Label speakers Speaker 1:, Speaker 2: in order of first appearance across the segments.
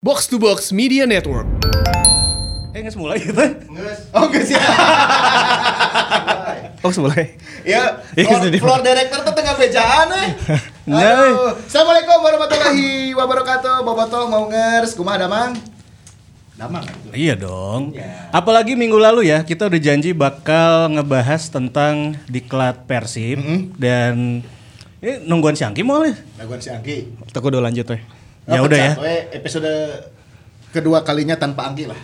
Speaker 1: Box to Box Media Network.
Speaker 2: Eh nggak mulai gitu?
Speaker 3: Oh enggak sih.
Speaker 2: Oh mulai.
Speaker 3: ya,
Speaker 2: Iya,
Speaker 3: floor,
Speaker 2: sedih.
Speaker 3: floor director tuh tengah bejaan eh.
Speaker 2: Nah, eh.
Speaker 3: Aduh. Assalamualaikum warahmatullahi wabarakatuh. Bobotoh mau ngers, kumaha damang? Damang.
Speaker 2: Iya dong. Apalagi minggu lalu ya kita udah janji bakal ngebahas tentang diklat persib dan ini nungguan si Angki mau nih.
Speaker 3: Laguan si Angki.
Speaker 2: Aku udah lanjut weh.
Speaker 3: Oh,
Speaker 2: Ya udah ya.
Speaker 3: pecat, we. episode kedua kalinya tanpa Angki lah.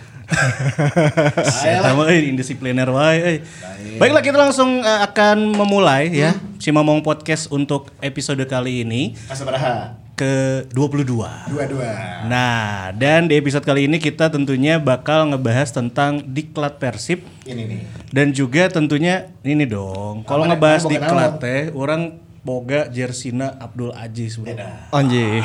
Speaker 2: Sama eh, indisipliner wae. eh. Baiklah kita langsung eh, akan memulai ya si Mamong Podcast untuk episode kali ini
Speaker 3: Kasabaraha.
Speaker 2: ke 22.
Speaker 3: Dua-dua.
Speaker 2: Nah, dan di episode kali ini kita tentunya bakal ngebahas tentang diklat Persib
Speaker 3: Ini nih.
Speaker 2: dan juga tentunya ini dong. Kalau
Speaker 3: Apa,
Speaker 2: ngebahas
Speaker 3: apa,
Speaker 2: diklat
Speaker 3: kenapa?
Speaker 2: teh orang boga Jersina Abdul Aziz, Bro.
Speaker 3: Beda.
Speaker 4: Anjir.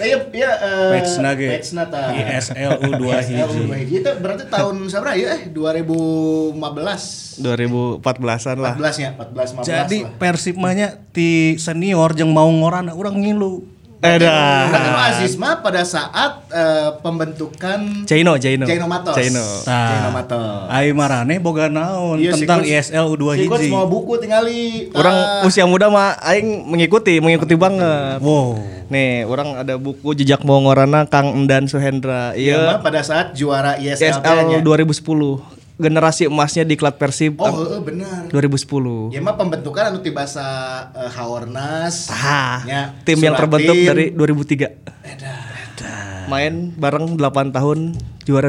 Speaker 3: Nah, iya, iya, eh,
Speaker 2: Petsna ge. Iya,
Speaker 3: Petsna ta.
Speaker 2: ISLU 2 hiji.
Speaker 3: ISLU 2 hiji. Itu berarti tahun sabra ya eh 2015.
Speaker 4: 2014-an lah.
Speaker 3: 14 nya, 14 15
Speaker 2: Jadi
Speaker 3: lah.
Speaker 2: Persib mah nya ti senior jeung mau ngorana urang ngilu.
Speaker 4: Eh dah.
Speaker 3: Bukan Mas Azisma pada saat eh, pembentukan
Speaker 4: Jaino, Jaino.
Speaker 3: Jaino Matos.
Speaker 4: Jaino.
Speaker 2: Nah,
Speaker 3: Jaino Matos.
Speaker 2: Ai marane boga naon
Speaker 3: Iya, si
Speaker 2: tentang
Speaker 3: Coach-
Speaker 4: E
Speaker 2: ISLU 2
Speaker 3: Si Coach
Speaker 2: hiji.
Speaker 3: mau buku Ah, tingali. Ta-
Speaker 4: Orang usia muda mah aing mengikuti, mengikuti banget.
Speaker 2: Wow.
Speaker 4: Nih, orang ada buku Jejak Mongorana Kang Endan Suhendra.
Speaker 3: Jaino
Speaker 4: Iya.
Speaker 3: pada saat juara E ISL.
Speaker 4: SL 2010. Generasi emasnya diklat Persib
Speaker 3: Oh,
Speaker 4: tahun
Speaker 3: heeh, benar.
Speaker 4: 2010.
Speaker 3: Ya mah pembentukan anu tiba sa eh, Haornas.
Speaker 4: Tah,
Speaker 3: nya
Speaker 4: Ah, tim yang
Speaker 3: Suratin.
Speaker 4: terbentuk dari 2003.
Speaker 3: Edah.
Speaker 4: Main bareng 8 tahun juara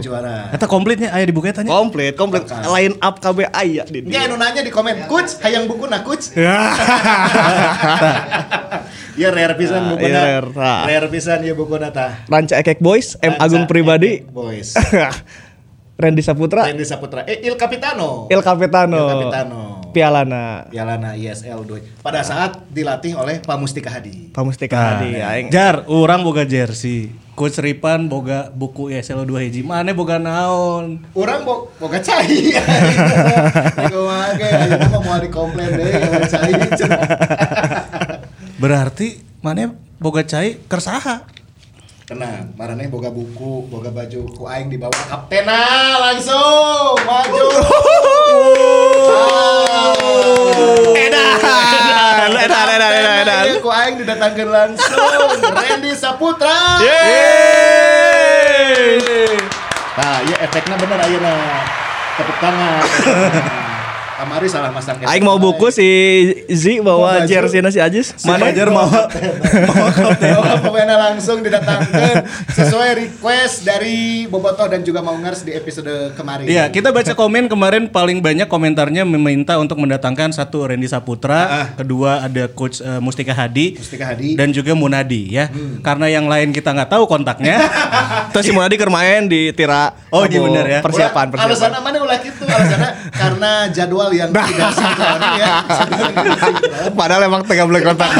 Speaker 4: 2010.
Speaker 3: juara.
Speaker 2: Eta komplitnya aya di buku eta nya.
Speaker 4: Komplit, komplit. Line up iya, KB aya di
Speaker 3: Ini anu nanya di komen, Coach, hayang buku na Coach. Ya rare pisan
Speaker 4: iya,
Speaker 3: buku na.
Speaker 4: rare, tah.
Speaker 3: Rare pisan ya buku na tah.
Speaker 4: Ranca Ekek Boys, M
Speaker 3: Ranca
Speaker 4: Agung Pribadi, Eh,
Speaker 3: Ekek Boys.
Speaker 4: Randy Saputra,
Speaker 3: Randy Saputra. Eh, Il Capitano.
Speaker 4: Il Capitano,
Speaker 3: Il Capitano.
Speaker 4: Pialana,
Speaker 3: Pialana ISL 2. Pada saat dilatih oleh Pak Mustika Hadi.
Speaker 4: Pamustika
Speaker 2: Nah,
Speaker 4: Hadi, aing.
Speaker 2: Jar, orang boga jersey. Coach Ripan boga buku ESL 2 hiji. Mana boga naon?
Speaker 3: Orang bo boga cai. Ego mage, ayeuna mah moal dikomplain deui boga cai.
Speaker 2: Berarti mana boga cai kersaha.
Speaker 3: Tenang, marane boga buku, boga baju ku aing dibawa kaptena langsung maju.
Speaker 4: Edan, edan, edan, edan, edan.
Speaker 3: Kaptena ieu Ku aing didatangkeun langsung Randy Saputra. Nah, iya efeknya bener ayeuna. Tepuk tangan. Kamari salah masang.
Speaker 4: Aing mau buku si Zi
Speaker 3: Bawa
Speaker 4: bawa
Speaker 3: baju.
Speaker 4: jersey si Ajis. Mana
Speaker 2: Jar mau
Speaker 3: Bawa pemainnya langsung didatangkan sesuai request dari Bobotoh dan juga Maungers di episode kemarin.
Speaker 2: Iya, kita baca komen kemarin paling banyak komentarnya meminta untuk mendatangkan satu Randy
Speaker 4: Ah,
Speaker 2: Saputra, kedua ada coach eh, Mustika Hadi
Speaker 3: Mustika Hadi.
Speaker 2: dan juga Munadi ya.
Speaker 4: Hmm.
Speaker 2: Karena yang lain kita nggak tahu kontaknya.
Speaker 4: Terus si Munadi keur main di Tira.
Speaker 2: Oh, iya bener ya.
Speaker 4: Persiapan,
Speaker 3: Ulah,
Speaker 4: persiapan.
Speaker 3: Alasannya mana ulah gitu? Alasannya karena jadwal yang tidak sinkron ya. Jadwal yang tidak sinkron.
Speaker 4: Padahal emang tengah belum kontak.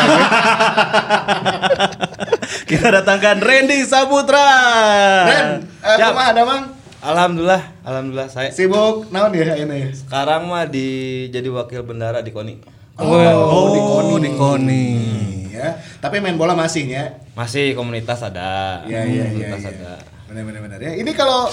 Speaker 2: kita datangkan Randy Saputra.
Speaker 3: Ren, eh,
Speaker 5: Siap.
Speaker 3: kumaha ada mang?
Speaker 5: Alhamdulillah, alhamdulillah saya
Speaker 3: Sibuk naon ya ini?
Speaker 5: sekarang mah di jadi wakil bendara di KONI.
Speaker 2: Oh, di Koni. Di Koni.
Speaker 3: Ya, tapi main bola ya. masihnya.
Speaker 5: Masih komunitas ada.
Speaker 3: Iya iya iya.
Speaker 5: Komunitas
Speaker 3: iya.
Speaker 5: Hmm. ada.
Speaker 3: Benar benar benar ya. Ini kalau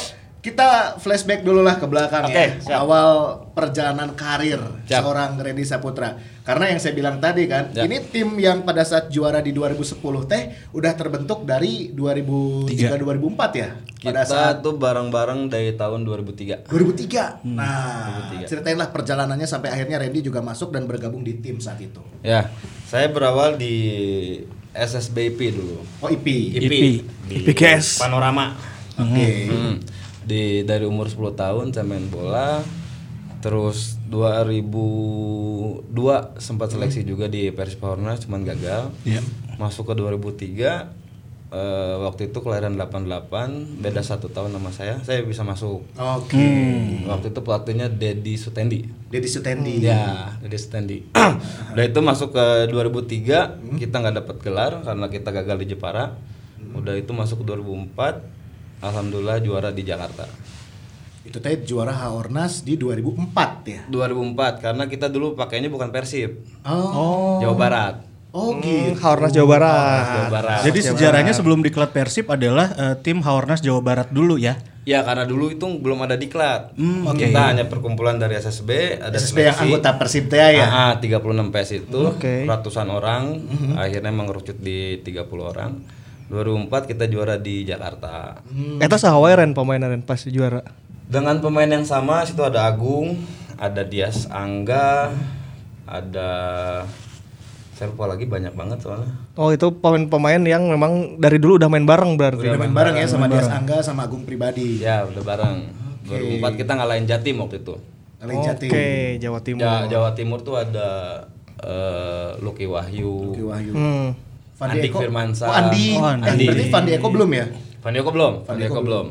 Speaker 3: kita flashback dulu lah ke belakang
Speaker 5: Oke,
Speaker 3: ya.
Speaker 5: siap.
Speaker 3: Awal perjalanan karir
Speaker 5: Siap.
Speaker 3: seorang Randy Saputra. Karena yang saya bilang tadi kan,
Speaker 5: Ya.
Speaker 3: ini tim yang pada saat juara di 2010 teh udah terbentuk dari 2003 2004 ya. Pada
Speaker 5: Kita
Speaker 3: saat
Speaker 5: tuh bareng-bareng dari tahun 2003.
Speaker 3: 2003.
Speaker 5: Hmm,
Speaker 3: Nah,
Speaker 5: 2003.
Speaker 3: ceritainlah perjalanannya sampai akhirnya Randy juga masuk dan bergabung di tim saat itu.
Speaker 5: Ya, saya berawal di SSBIP dulu.
Speaker 3: Oh, IP.
Speaker 5: IP. Di
Speaker 4: IP Cash.
Speaker 5: Panorama.
Speaker 3: Oke.
Speaker 5: Hmm. Di dari umur 10 tahun saya main bola. Terus 2002 sempat seleksi juga di Persib Hornas cuman gagal. Masuk ke 2003 eh, waktu itu kelahiran 88 beda satu tahun sama saya saya bisa masuk
Speaker 3: Oke.
Speaker 5: Hmm. waktu itu pelatihnya Dedi Sutendi
Speaker 3: Deddy Sutendi.
Speaker 5: ya Dedi Sutendi udah itu masuk ke 2003
Speaker 3: Hmm.
Speaker 5: kita nggak dapat gelar karena kita gagal di Jepara
Speaker 3: Hmm.
Speaker 5: udah itu masuk ke 2004 alhamdulillah juara di Jakarta
Speaker 3: Itu teh juara Haornas di 2004 ya.
Speaker 5: 2004 karena kita dulu pakainya bukan Persib
Speaker 3: Oh.
Speaker 5: Jawa Barat
Speaker 3: Oh gitu.
Speaker 4: Haornas Jawa Barat.
Speaker 5: Jawa Barat.
Speaker 2: Jadi sejarahnya sebelum diklat Persib adalah eh, tim Haornas Jawa Barat dulu ya.
Speaker 5: Ya karena dulu itu belum ada diklat.
Speaker 2: Hmm, oke.
Speaker 5: Kita hanya perkumpulan dari SSB, ada
Speaker 3: SSB yang
Speaker 5: seleksi.
Speaker 3: anggota Persib teh ya. Hmm,
Speaker 5: Ah, ah, 36 PS itu
Speaker 4: Oke.
Speaker 5: ratusan orang akhirnya mengerucut di 30 orang. 2004 kita juara di Jakarta.
Speaker 3: Hmm.
Speaker 4: Eta sahawae Ren pemainnya Ren pas juara.
Speaker 5: Dengan pemain yang sama situ ada Agung, ada Dias Angga, ada saya lupa lagi banyak banget soalnya.
Speaker 4: Oh itu pemain-pemain yang memang dari dulu udah main bareng
Speaker 3: Udah
Speaker 4: berarti.
Speaker 3: main bareng ya sama Dias Angga sama Agung Pribadi.
Speaker 5: Ya, udah bareng. 2004 kita ngalahin Jatim waktu itu.
Speaker 3: Kalian Jati.
Speaker 4: Oke Jawa Timur.
Speaker 5: Ja- Jawa Timur tuh ada eh, Lucky Wahyu.
Speaker 3: Ki Wahyu.
Speaker 4: Hmm.
Speaker 3: Fandi
Speaker 5: Andik
Speaker 3: Eko.
Speaker 5: Firmansyah.
Speaker 3: Oh, Andi.
Speaker 2: Oh, Andi.
Speaker 3: Eh, Berarti Fandi Eko belum ya?
Speaker 5: Fandeko belum? Fandeko belum.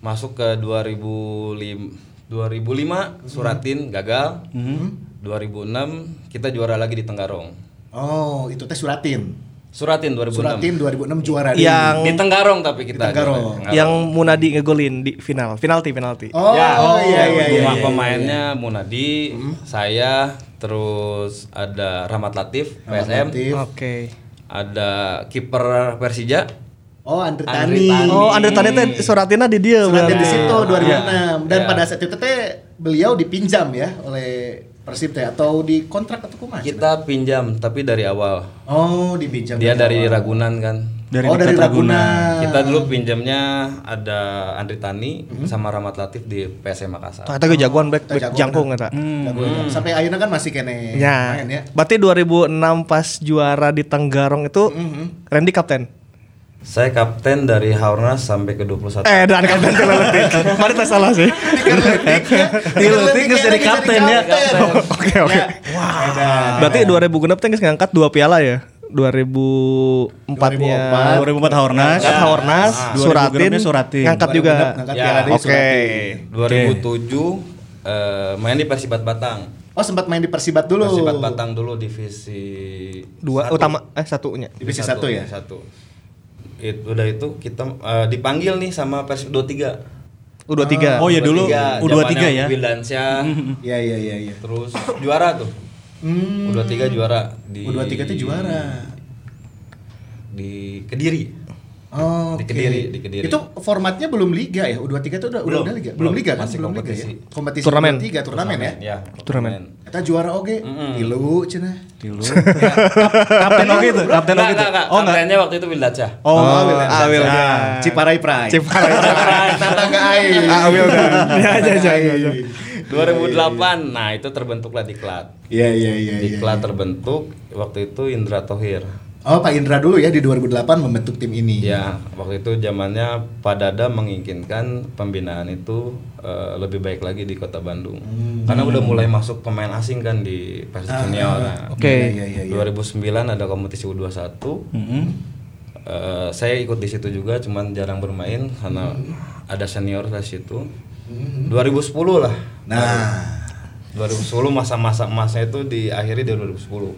Speaker 5: Masuk ke 2005 2005 Suratin gagal. Hmm. 2006 kita juara lagi di Tenggarong.
Speaker 3: Oh, itu teh Suratin.
Speaker 5: Suratin 2006.
Speaker 3: Suratin 2006 juara di-
Speaker 4: Yang
Speaker 5: Di Tenggarong tapi kita.
Speaker 3: Tenggarong.
Speaker 5: juara di
Speaker 4: yang Munadi ngegolin di final, penalti penalti.
Speaker 3: Oh,
Speaker 5: ya,
Speaker 3: iya iya iya. Hmm.
Speaker 5: Rumah pemainnya Munadi, saya, terus ada Rahmat Latif, PSM,
Speaker 3: Latif.
Speaker 4: Oke.
Speaker 5: ada kiper Persija,
Speaker 3: Oh, Andre Tani.
Speaker 5: Andre Tani.
Speaker 4: Oh, Andre Tani Iya. teh suratina di dia
Speaker 3: Suratin
Speaker 4: berarti.
Speaker 3: di situ 2006 dan
Speaker 5: Iya.
Speaker 3: pada saat itu teh beliau dipinjam ya oleh Persib teh atau dikontrak atau kumaha?
Speaker 5: kita pinjam tapi dari awal.
Speaker 3: Oh, dipinjam.
Speaker 5: Dia dari Ragunan kan.
Speaker 2: Dari
Speaker 3: oh, dari
Speaker 2: Diklat
Speaker 3: Ragunan.
Speaker 5: Kita dulu pinjamnya ada Andri Tani
Speaker 3: Hmm.
Speaker 5: sama Rahmat Latif di PSM Makassar.
Speaker 4: Eta gue jagoan back back
Speaker 3: Jagoan.
Speaker 4: jangkung eta.
Speaker 3: Ragunan. Sampai akhirnya kan masih kene
Speaker 4: Ya.
Speaker 3: main ya.
Speaker 4: Berarti 2006 pas juara di Tenggarong itu
Speaker 3: Mhm.
Speaker 4: Randy kapten.
Speaker 5: Saya kapten dari Haornas sampai ke 21.
Speaker 4: Eh, dan kapten Teleletik. Mari kita salah sih.
Speaker 3: ya.
Speaker 2: Diletik geus jadi kapten ya.
Speaker 4: Oke, oke. Berarti 2006 teh geus ngangkat dua piala ya. 2004-nya
Speaker 2: 2004 Haornas.
Speaker 4: ngangkat Haornas,
Speaker 2: Ah.
Speaker 4: Suratin,
Speaker 2: 2006-nya Suratin.
Speaker 4: ngangkat juga.
Speaker 3: Angkat
Speaker 5: Ya,
Speaker 3: piala di
Speaker 4: Oke.
Speaker 3: Suratin.
Speaker 5: 2007 eh, main di Persibat Batang.
Speaker 3: Oh, sempat main di Persibat dulu.
Speaker 5: Persibat Batang dulu divisi
Speaker 4: Dua
Speaker 5: satu.
Speaker 4: utama eh satunya.
Speaker 3: Divisi satu ya?
Speaker 5: Satu. It- udah itu kita eh, dipanggil nih sama Persib 23. Ah,
Speaker 4: U23.
Speaker 2: Oh, iya dulu U23
Speaker 5: zamannya
Speaker 2: ya.
Speaker 5: Wildansyah.
Speaker 3: Iya, iya, iya, iya.
Speaker 5: terus juara tuh.
Speaker 3: Hmm.
Speaker 5: U23 juara di
Speaker 3: U23 tuh juara.
Speaker 5: di Kediri.
Speaker 3: Oh,
Speaker 5: Di
Speaker 3: oke.
Speaker 5: Kediri, di Kediri.
Speaker 3: Itu formatnya belum liga ya? U23 itu udah
Speaker 5: Belum,
Speaker 3: udah liga. Belum
Speaker 5: belum.
Speaker 3: liga kan?
Speaker 5: Masih
Speaker 3: belum
Speaker 5: kompetisi.
Speaker 3: liga ya. Kompetisi
Speaker 4: Turnamen.
Speaker 3: U23 turnamen ya.
Speaker 5: Ya,
Speaker 4: Turnamen.
Speaker 3: Kita juara oge. Ilu cenah.
Speaker 2: Dulu. Kapten oke itu, kapten
Speaker 5: Enggak,
Speaker 2: oke itu.
Speaker 5: enggak, enggak.
Speaker 2: Oh, enggak.
Speaker 5: Kaptennya waktu itu Wildansyah.
Speaker 2: Oh,
Speaker 3: Wildan.
Speaker 4: Awil.
Speaker 3: Nah, Ciparai Pride.
Speaker 4: Ciparai
Speaker 3: Tetangga aing.
Speaker 2: Ah,
Speaker 4: Ya, ya, ya,
Speaker 2: Iya,
Speaker 4: ya, ya.
Speaker 5: 2008. Nah, itu terbentuklah diklat.
Speaker 3: Iya, iya, iya. iya.
Speaker 5: Diklat terbentuk waktu itu Indra Tohir.
Speaker 3: Oh, Pak Indra dulu ya di 2008 membentuk tim ini.
Speaker 5: Ya, waktu itu zamannya Padada menginginkan pembinaan itu eh, lebih baik lagi di Kota Bandung.
Speaker 3: Hmm.
Speaker 5: Karena udah mulai masuk pemain asing kan di Persib
Speaker 3: Ah,
Speaker 5: Junior. Nah,
Speaker 4: Oke.
Speaker 3: Iya, iya, Hmm. iya.
Speaker 5: 2009 ada kompetisi U21. Eh, saya ikut di situ juga, cuman jarang bermain karena
Speaker 3: Hmm.
Speaker 5: ada senior di situ. 2010 lah.
Speaker 3: Nah,
Speaker 5: 2010 masa-masa emasnya itu diakhiri di 2010.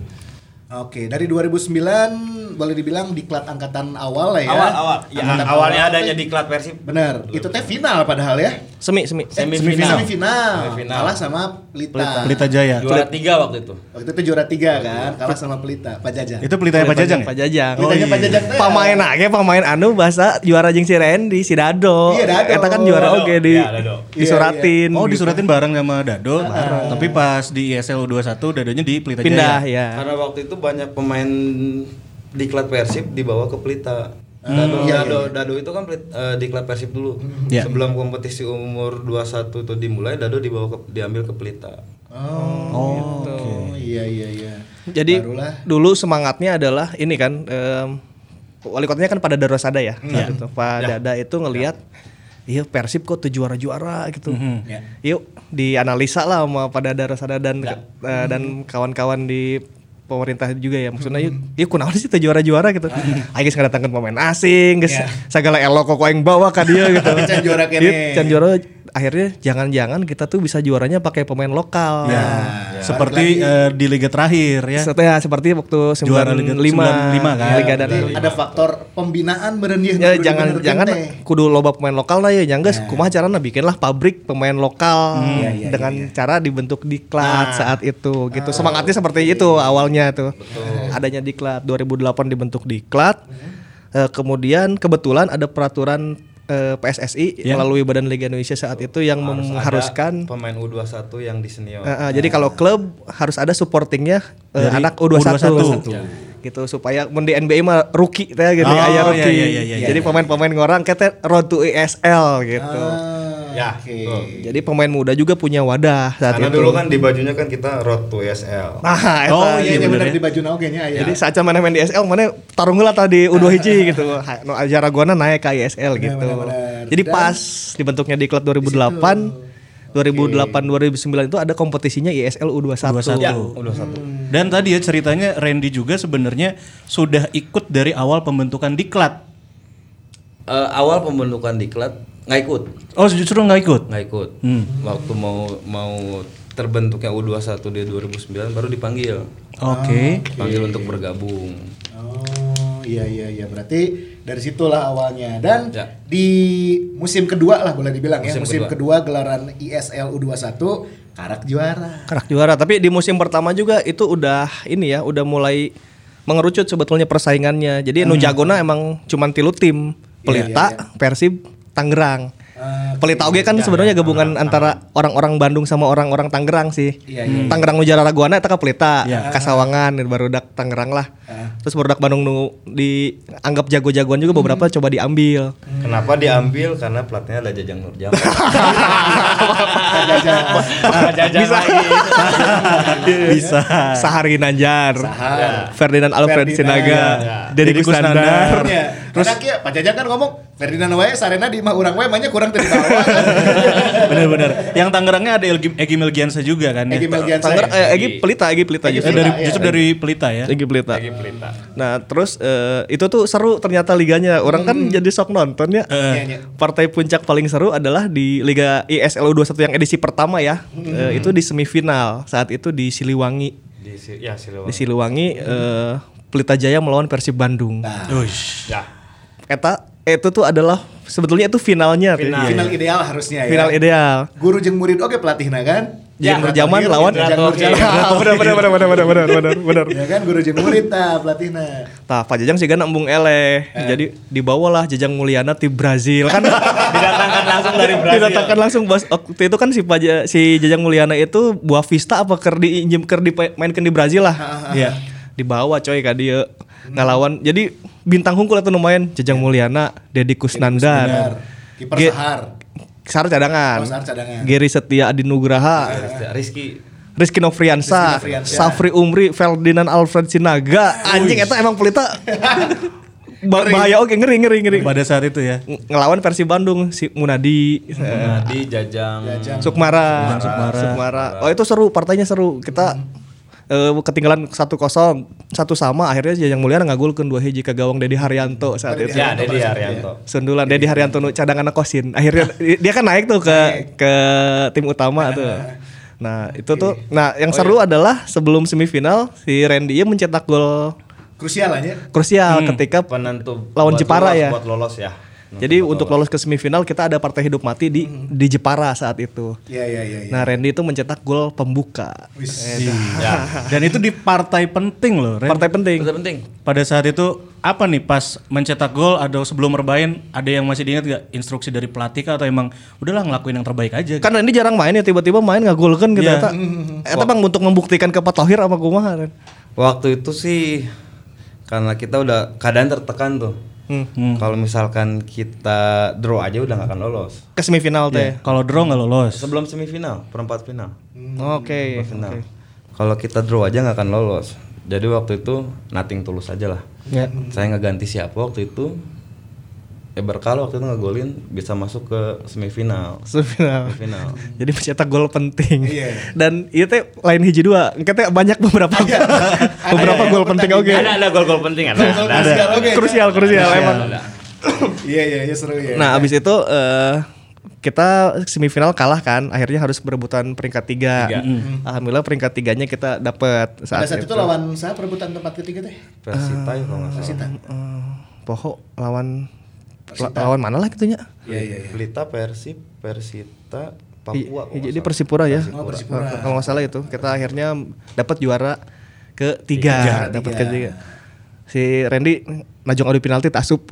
Speaker 3: Oke, dari 2009 boleh dibilang diklat angkatan awal lah ya.
Speaker 5: Awal awal. Ya,
Speaker 3: Angkatan
Speaker 5: awalnya
Speaker 3: awal.
Speaker 5: adanya diklat Persib
Speaker 3: Bener, itu teh final padahal ya. Eh,
Speaker 4: Semi, semi.
Speaker 5: semifinal.
Speaker 3: Semifinal.
Speaker 5: Semifinal.
Speaker 3: Kalah sama Pelita.
Speaker 2: Pelita
Speaker 4: Nah,
Speaker 2: Jaya.
Speaker 5: Juara tiga waktu itu.
Speaker 3: Waktu itu juara tiga kan, kalah sama Pelita, Pak Jajang.
Speaker 2: Itu Pelita Pak Jajang. ya? Oh, iya.
Speaker 4: Pak Jajang.
Speaker 3: Pelitanya Pak Jajang teh.
Speaker 4: pamain aja pamain anu bahasa juara jeung si Randy si Dado.
Speaker 3: Iya, Dado.
Speaker 4: Eta kan juara
Speaker 5: Dado.
Speaker 4: oge di
Speaker 5: Iya, Dado.
Speaker 4: disuratin.
Speaker 2: Oh, disuratin bareng sama Dado. Tapi pas di ISL 21 Dadonya di Pelita
Speaker 4: pindah
Speaker 2: Jaya.
Speaker 4: ya.
Speaker 5: Karena waktu itu banyak pemain diklat Persib dibawa ke Pelita. Dado,
Speaker 4: Iya,
Speaker 5: Dado, Dado itu kan Pelit- eh, diklat Persib dulu.
Speaker 2: Iya.
Speaker 5: Sebelum kompetisi umur 21 itu dimulai, Dado dibawa ke, diambil ke Pelita.
Speaker 3: Oh, oh, iya iya iya.
Speaker 4: Jadi
Speaker 3: barulah
Speaker 4: dulu semangatnya adalah ini kan em, wali kotanya kan pada Darosada ya. saat
Speaker 3: Iya.
Speaker 4: itu. Pak Dada itu ngelihat Iya Persib kok tuh juara-juara gitu.
Speaker 3: Ya.
Speaker 4: Yuk dianalisa lah sama pada Darosada dan eh, dan
Speaker 3: Mm-hmm.
Speaker 4: kawan-kawan di pemerintah juga ya maksudnya yuk yuk kunaon sih tuh juara-juara gitu. Ah geus ngadatangkeun pemain asing, geus
Speaker 3: Ya.
Speaker 4: sagala elok kok aing bawa ka dia gitu.
Speaker 3: Can juara kene.
Speaker 4: Yuk, can juara akhirnya jangan-jangan kita tuh bisa juaranya pakai pemain lokal.
Speaker 2: Ya, seperti eh, di liga terakhir ya.
Speaker 4: Seperti ya seperti waktu 95
Speaker 2: Juara Liga 95 kan?
Speaker 4: Liga dan
Speaker 3: Jadi ada faktor pembinaan beren dia
Speaker 4: Ya, jangan jangan kudu loba pemain lokal lah ya
Speaker 5: Iya.
Speaker 4: nyangges kumaha carana bikinlah pabrik pemain lokal
Speaker 5: Hmm.
Speaker 4: dengan
Speaker 5: iya,
Speaker 4: cara dibentuk diklat
Speaker 5: Nah.
Speaker 4: saat itu
Speaker 5: Ah.
Speaker 4: gitu semangatnya
Speaker 5: Iya,
Speaker 4: seperti itu awalnya tuh adanya diklat 2008 dibentuk diklat
Speaker 5: Hmm.
Speaker 4: Eh, kemudian kebetulan ada peraturan eh, PSSI
Speaker 2: Iya.
Speaker 4: melalui Badan Liga Indonesia saat itu yang
Speaker 5: Harus ada
Speaker 4: mengharuskan
Speaker 5: pemain U21 yang di senior.
Speaker 4: Eh, eh, jadi
Speaker 2: Oh.
Speaker 4: kalau klub harus ada supportingnya eh,
Speaker 2: Dari
Speaker 4: anak U21,
Speaker 2: U21.
Speaker 4: gitu supaya mun di NBA mah rookie teh gitu
Speaker 2: Oh,
Speaker 4: aya
Speaker 2: iya,
Speaker 4: rookie.
Speaker 2: iya, iya, Ah. iya,
Speaker 4: jadi pemain-pemain ngorang kata road to ESL gitu.
Speaker 5: Ya, betul.
Speaker 3: Iya,
Speaker 4: Jadi pemain muda juga punya wadah saat
Speaker 5: Karena
Speaker 4: itu.
Speaker 5: dulu kan di bajunya kan kita road to SL.
Speaker 4: Nah, eta.
Speaker 2: Oh,
Speaker 3: Oh
Speaker 2: Iya,
Speaker 3: iya, iya
Speaker 2: bener
Speaker 3: benar
Speaker 2: ya.
Speaker 3: di baju nao kayaknya ya.
Speaker 4: Jadi saat mana main di ESL mana tarung heula tah di
Speaker 2: Ah.
Speaker 4: U2 hiji gitu. Ha, Nu jaragona naik ke ESL gitu.
Speaker 3: bener.
Speaker 4: Jadi
Speaker 3: Dan-
Speaker 4: pas dibentuknya di klub 2008 2008 2009 itu ada kompetisinya ESL U21.
Speaker 2: Ya, Dan tadi ya ceritanya Randy juga sebenarnya sudah ikut dari awal pembentukan diklat.
Speaker 5: Eh, awal pembentukan diklat nggak ikut,
Speaker 2: Oh justru nggak ikut.
Speaker 5: nggak ikut.
Speaker 4: Hmm.
Speaker 5: Waktu mau mau terbentuknya U21 di 2009 baru dipanggil,
Speaker 2: Oke.
Speaker 5: panggil untuk bergabung.
Speaker 3: Oh iya iya iya berarti dari situlah awalnya dan
Speaker 5: Ya.
Speaker 3: di musim kedua lah boleh dibilang ya musim kedua. gelaran ISL U21 Karak juara.
Speaker 4: kerak juara tapi di musim pertama juga itu udah ini ya udah mulai mengerucut sebetulnya persaingannya jadi nu jagona emang cuman tilu tim pelita persib tangerang pelita oge kan sebenarnya gabungan antara orang-orang Bandung sama orang-orang Tangerang sih Tangerang nu Raguana eta ka pelita kasawangan baru dak Tangerang lah terus baru dak Bandung nu dianggap jago-jagoan juga beberapa coba diambil
Speaker 5: Kenapa diambil? Karena platnya ada Jajang Nurjam.
Speaker 3: Ah,
Speaker 4: bisa
Speaker 2: Ah. Bisa.
Speaker 4: Sahari Nanjar Ferdinand Alfred
Speaker 3: Ferdinand.
Speaker 4: Sinaga Deddy
Speaker 2: Deddy
Speaker 4: Kusnandar
Speaker 2: Kusnandar.
Speaker 3: Ya, terus ya Pak Jajang kan ngomong Ferdinand wae sarena di mah urang wae mahnya kurang teu dibawa kan.
Speaker 2: Bener-bener. Yang Tangerangnya ada Elgi- Egy Melgiansa juga kan ya.
Speaker 3: Egy Melgiansa.
Speaker 4: Tanger, eh, Egi pelita, Egi pelita
Speaker 2: Eh,
Speaker 4: justru.
Speaker 2: dari justru dari Pelita ya.
Speaker 4: Egi pelita. Nah terus eh, itu tuh seru ternyata liganya. Orang kan jadi sok nonton ya.
Speaker 3: Iya, iya.
Speaker 4: Partai puncak paling seru adalah di Liga ISL U21 yang edisi pertama ya. Eh, itu di semifinal saat itu di Siliwangi.
Speaker 5: di si- ya
Speaker 4: Di
Speaker 5: Siliwangi.
Speaker 4: Siliwangi eh, Pelita Jaya melawan Persib Bandung.
Speaker 2: Uish.
Speaker 5: Ya.
Speaker 4: Eta itu tuh adalah sebetulnya itu finalnya. tuh.
Speaker 5: Final.
Speaker 4: Iya.
Speaker 3: Final ideal harusnya ya.
Speaker 4: Final ideal.
Speaker 3: Guru jeung murid oke pelatihna kan.
Speaker 4: Jeung Nurjaman
Speaker 3: Jang
Speaker 4: lawan-
Speaker 3: Nurjaman.
Speaker 4: Ah, benar benar benar benar benar benar benar benar.
Speaker 3: Ya kan guru jeung murid tah pelatihna.
Speaker 4: Tah, Pak Jajang sih kan embung eleh. Jadi dibawalah Jajang Mulyana di Brazil kan.
Speaker 5: Didatangkan langsung dari Brazil.
Speaker 4: Didatangkan langsung bos waktu itu kan si Pak Ja- si Jajang Mulyana itu buah Vista apa ker diinjem ker dimainkan di Brazil lah. Iya. Dibawa coy ka dia ngalawan. Jadi bintang hungkul itu lumayan Jajang Mulyana, Deddy Kusnandar.
Speaker 3: Kiper
Speaker 4: Ge-
Speaker 3: Sahar.
Speaker 4: Sar cadangan.
Speaker 3: Oh, Sar cadangan.
Speaker 4: Geri Setia Adi
Speaker 5: Iya.
Speaker 4: Nugraha.
Speaker 5: Rizky
Speaker 4: Rizky Novriansa, Ya.
Speaker 3: Rizky Novriansa.
Speaker 4: Safri Umri, Ferdinand Alfred Sinaga. Anjing itu emang pelita Ba- bahaya oke ngeri ngeri ngeri.
Speaker 2: Pada saat itu ya.
Speaker 4: Ng- Ngelawan versi Bandung si Munadi, eh,
Speaker 5: Nadi Jajang.
Speaker 4: Sukmara, Sukmara. Oh itu seru, partainya seru. Kita eh, ketinggalan 1-0, satu sama akhirnya yang mulia ngagulkeun dua hiji ke gawang Dedi Haryanto saat itu.
Speaker 5: Ya, Dedi Arianto.
Speaker 4: Sundulan Dedi Haryanto nu cadangan kosin. Akhirnya dia kan naik tuh ke ke tim utama tuh. Nah, itu tuh. Nah, yang seru adalah sebelum semifinal si Randy Iya mencetak gol
Speaker 3: Krusial lah ya.
Speaker 4: krusial ketika
Speaker 5: Penentu
Speaker 4: Lawan
Speaker 5: buat
Speaker 4: Jepara
Speaker 5: lolos-
Speaker 4: ya.
Speaker 5: Buat lolos ya.
Speaker 4: jadi untuk lolos ke semifinal kita ada partai hidup mati di di Jepara saat itu.
Speaker 3: Iya iya iya iya.
Speaker 4: Nah, Randy itu mencetak gol pembuka.
Speaker 3: Wis.
Speaker 2: Dan itu di partai penting loh, Ren.
Speaker 4: Partai penting.
Speaker 5: Itu penting.
Speaker 2: Pada saat itu apa nih pas mencetak gol atau sebelum rebahin ada yang masih diingat gak instruksi dari pelatih kah, atau emang udahlah ngelakuin yang terbaik aja?
Speaker 4: Kan Randy jarang main ya tiba-tiba main ngagulkeun gitu
Speaker 2: Iya.
Speaker 4: eta. Eta Bang untuk membuktikan ke Pak Thohir sama kumaha Ren.
Speaker 5: Waktu itu sih karena kita udah keadaan tertekan tuh. Kalau misalkan kita draw aja udah nggak akan lolos.
Speaker 4: Ke semifinal teh.
Speaker 2: Kalau draw nggak lolos.
Speaker 5: Sebelum semifinal, perempat final,
Speaker 3: Iya.
Speaker 4: Oke.
Speaker 5: final. Kalau kita draw aja nggak akan lolos. Jadi waktu itu nothing tulus aja lah.
Speaker 4: Ya.
Speaker 5: Saya ngeganti siapa waktu itu? Ya berkala waktu itu ngegolin bisa masuk ke semifinal.
Speaker 4: Semifinal.
Speaker 5: Semifinal.
Speaker 4: Jadi mencetak gol penting.
Speaker 3: Iya.
Speaker 4: Dan itu teh lain hiji dua. Kita banyak beberapa beberapa
Speaker 3: Ada,
Speaker 4: gol
Speaker 3: ada
Speaker 4: penting oke.
Speaker 3: pertandingan.
Speaker 5: Ada ada gol-gol penting ada. ada.
Speaker 3: Krusial oke.
Speaker 4: Krusial krusial emang.
Speaker 3: Iya iya iya seru ya.
Speaker 4: Nah, abis itu eh kita semifinal kalah kan, akhirnya harus berebutan peringkat tiga. Mm-hmm. Alhamdulillah peringkat tiganya kita dapat
Speaker 3: Mm-hmm. Pada
Speaker 4: saat,
Speaker 3: saat itu lawan saya perebutan tempat ketiga teh.
Speaker 5: Persita ya kalau nggak salah.
Speaker 4: Eh, Poho lawan la- lawan mana lah gitunya?
Speaker 3: Iya iya iya.
Speaker 5: Pelita, Persib, Persita, Papua.
Speaker 4: I- Iya,
Speaker 5: kalau
Speaker 4: jadi
Speaker 5: nggak salah.
Speaker 4: Persipura ya.
Speaker 3: Oh, Persipura.
Speaker 4: Kalau- Kalau nggak salah itu kita akhirnya dapat juara ketiga, dapat
Speaker 3: Tiga.
Speaker 4: ketiga. Si Randy najong adu penalti tasup.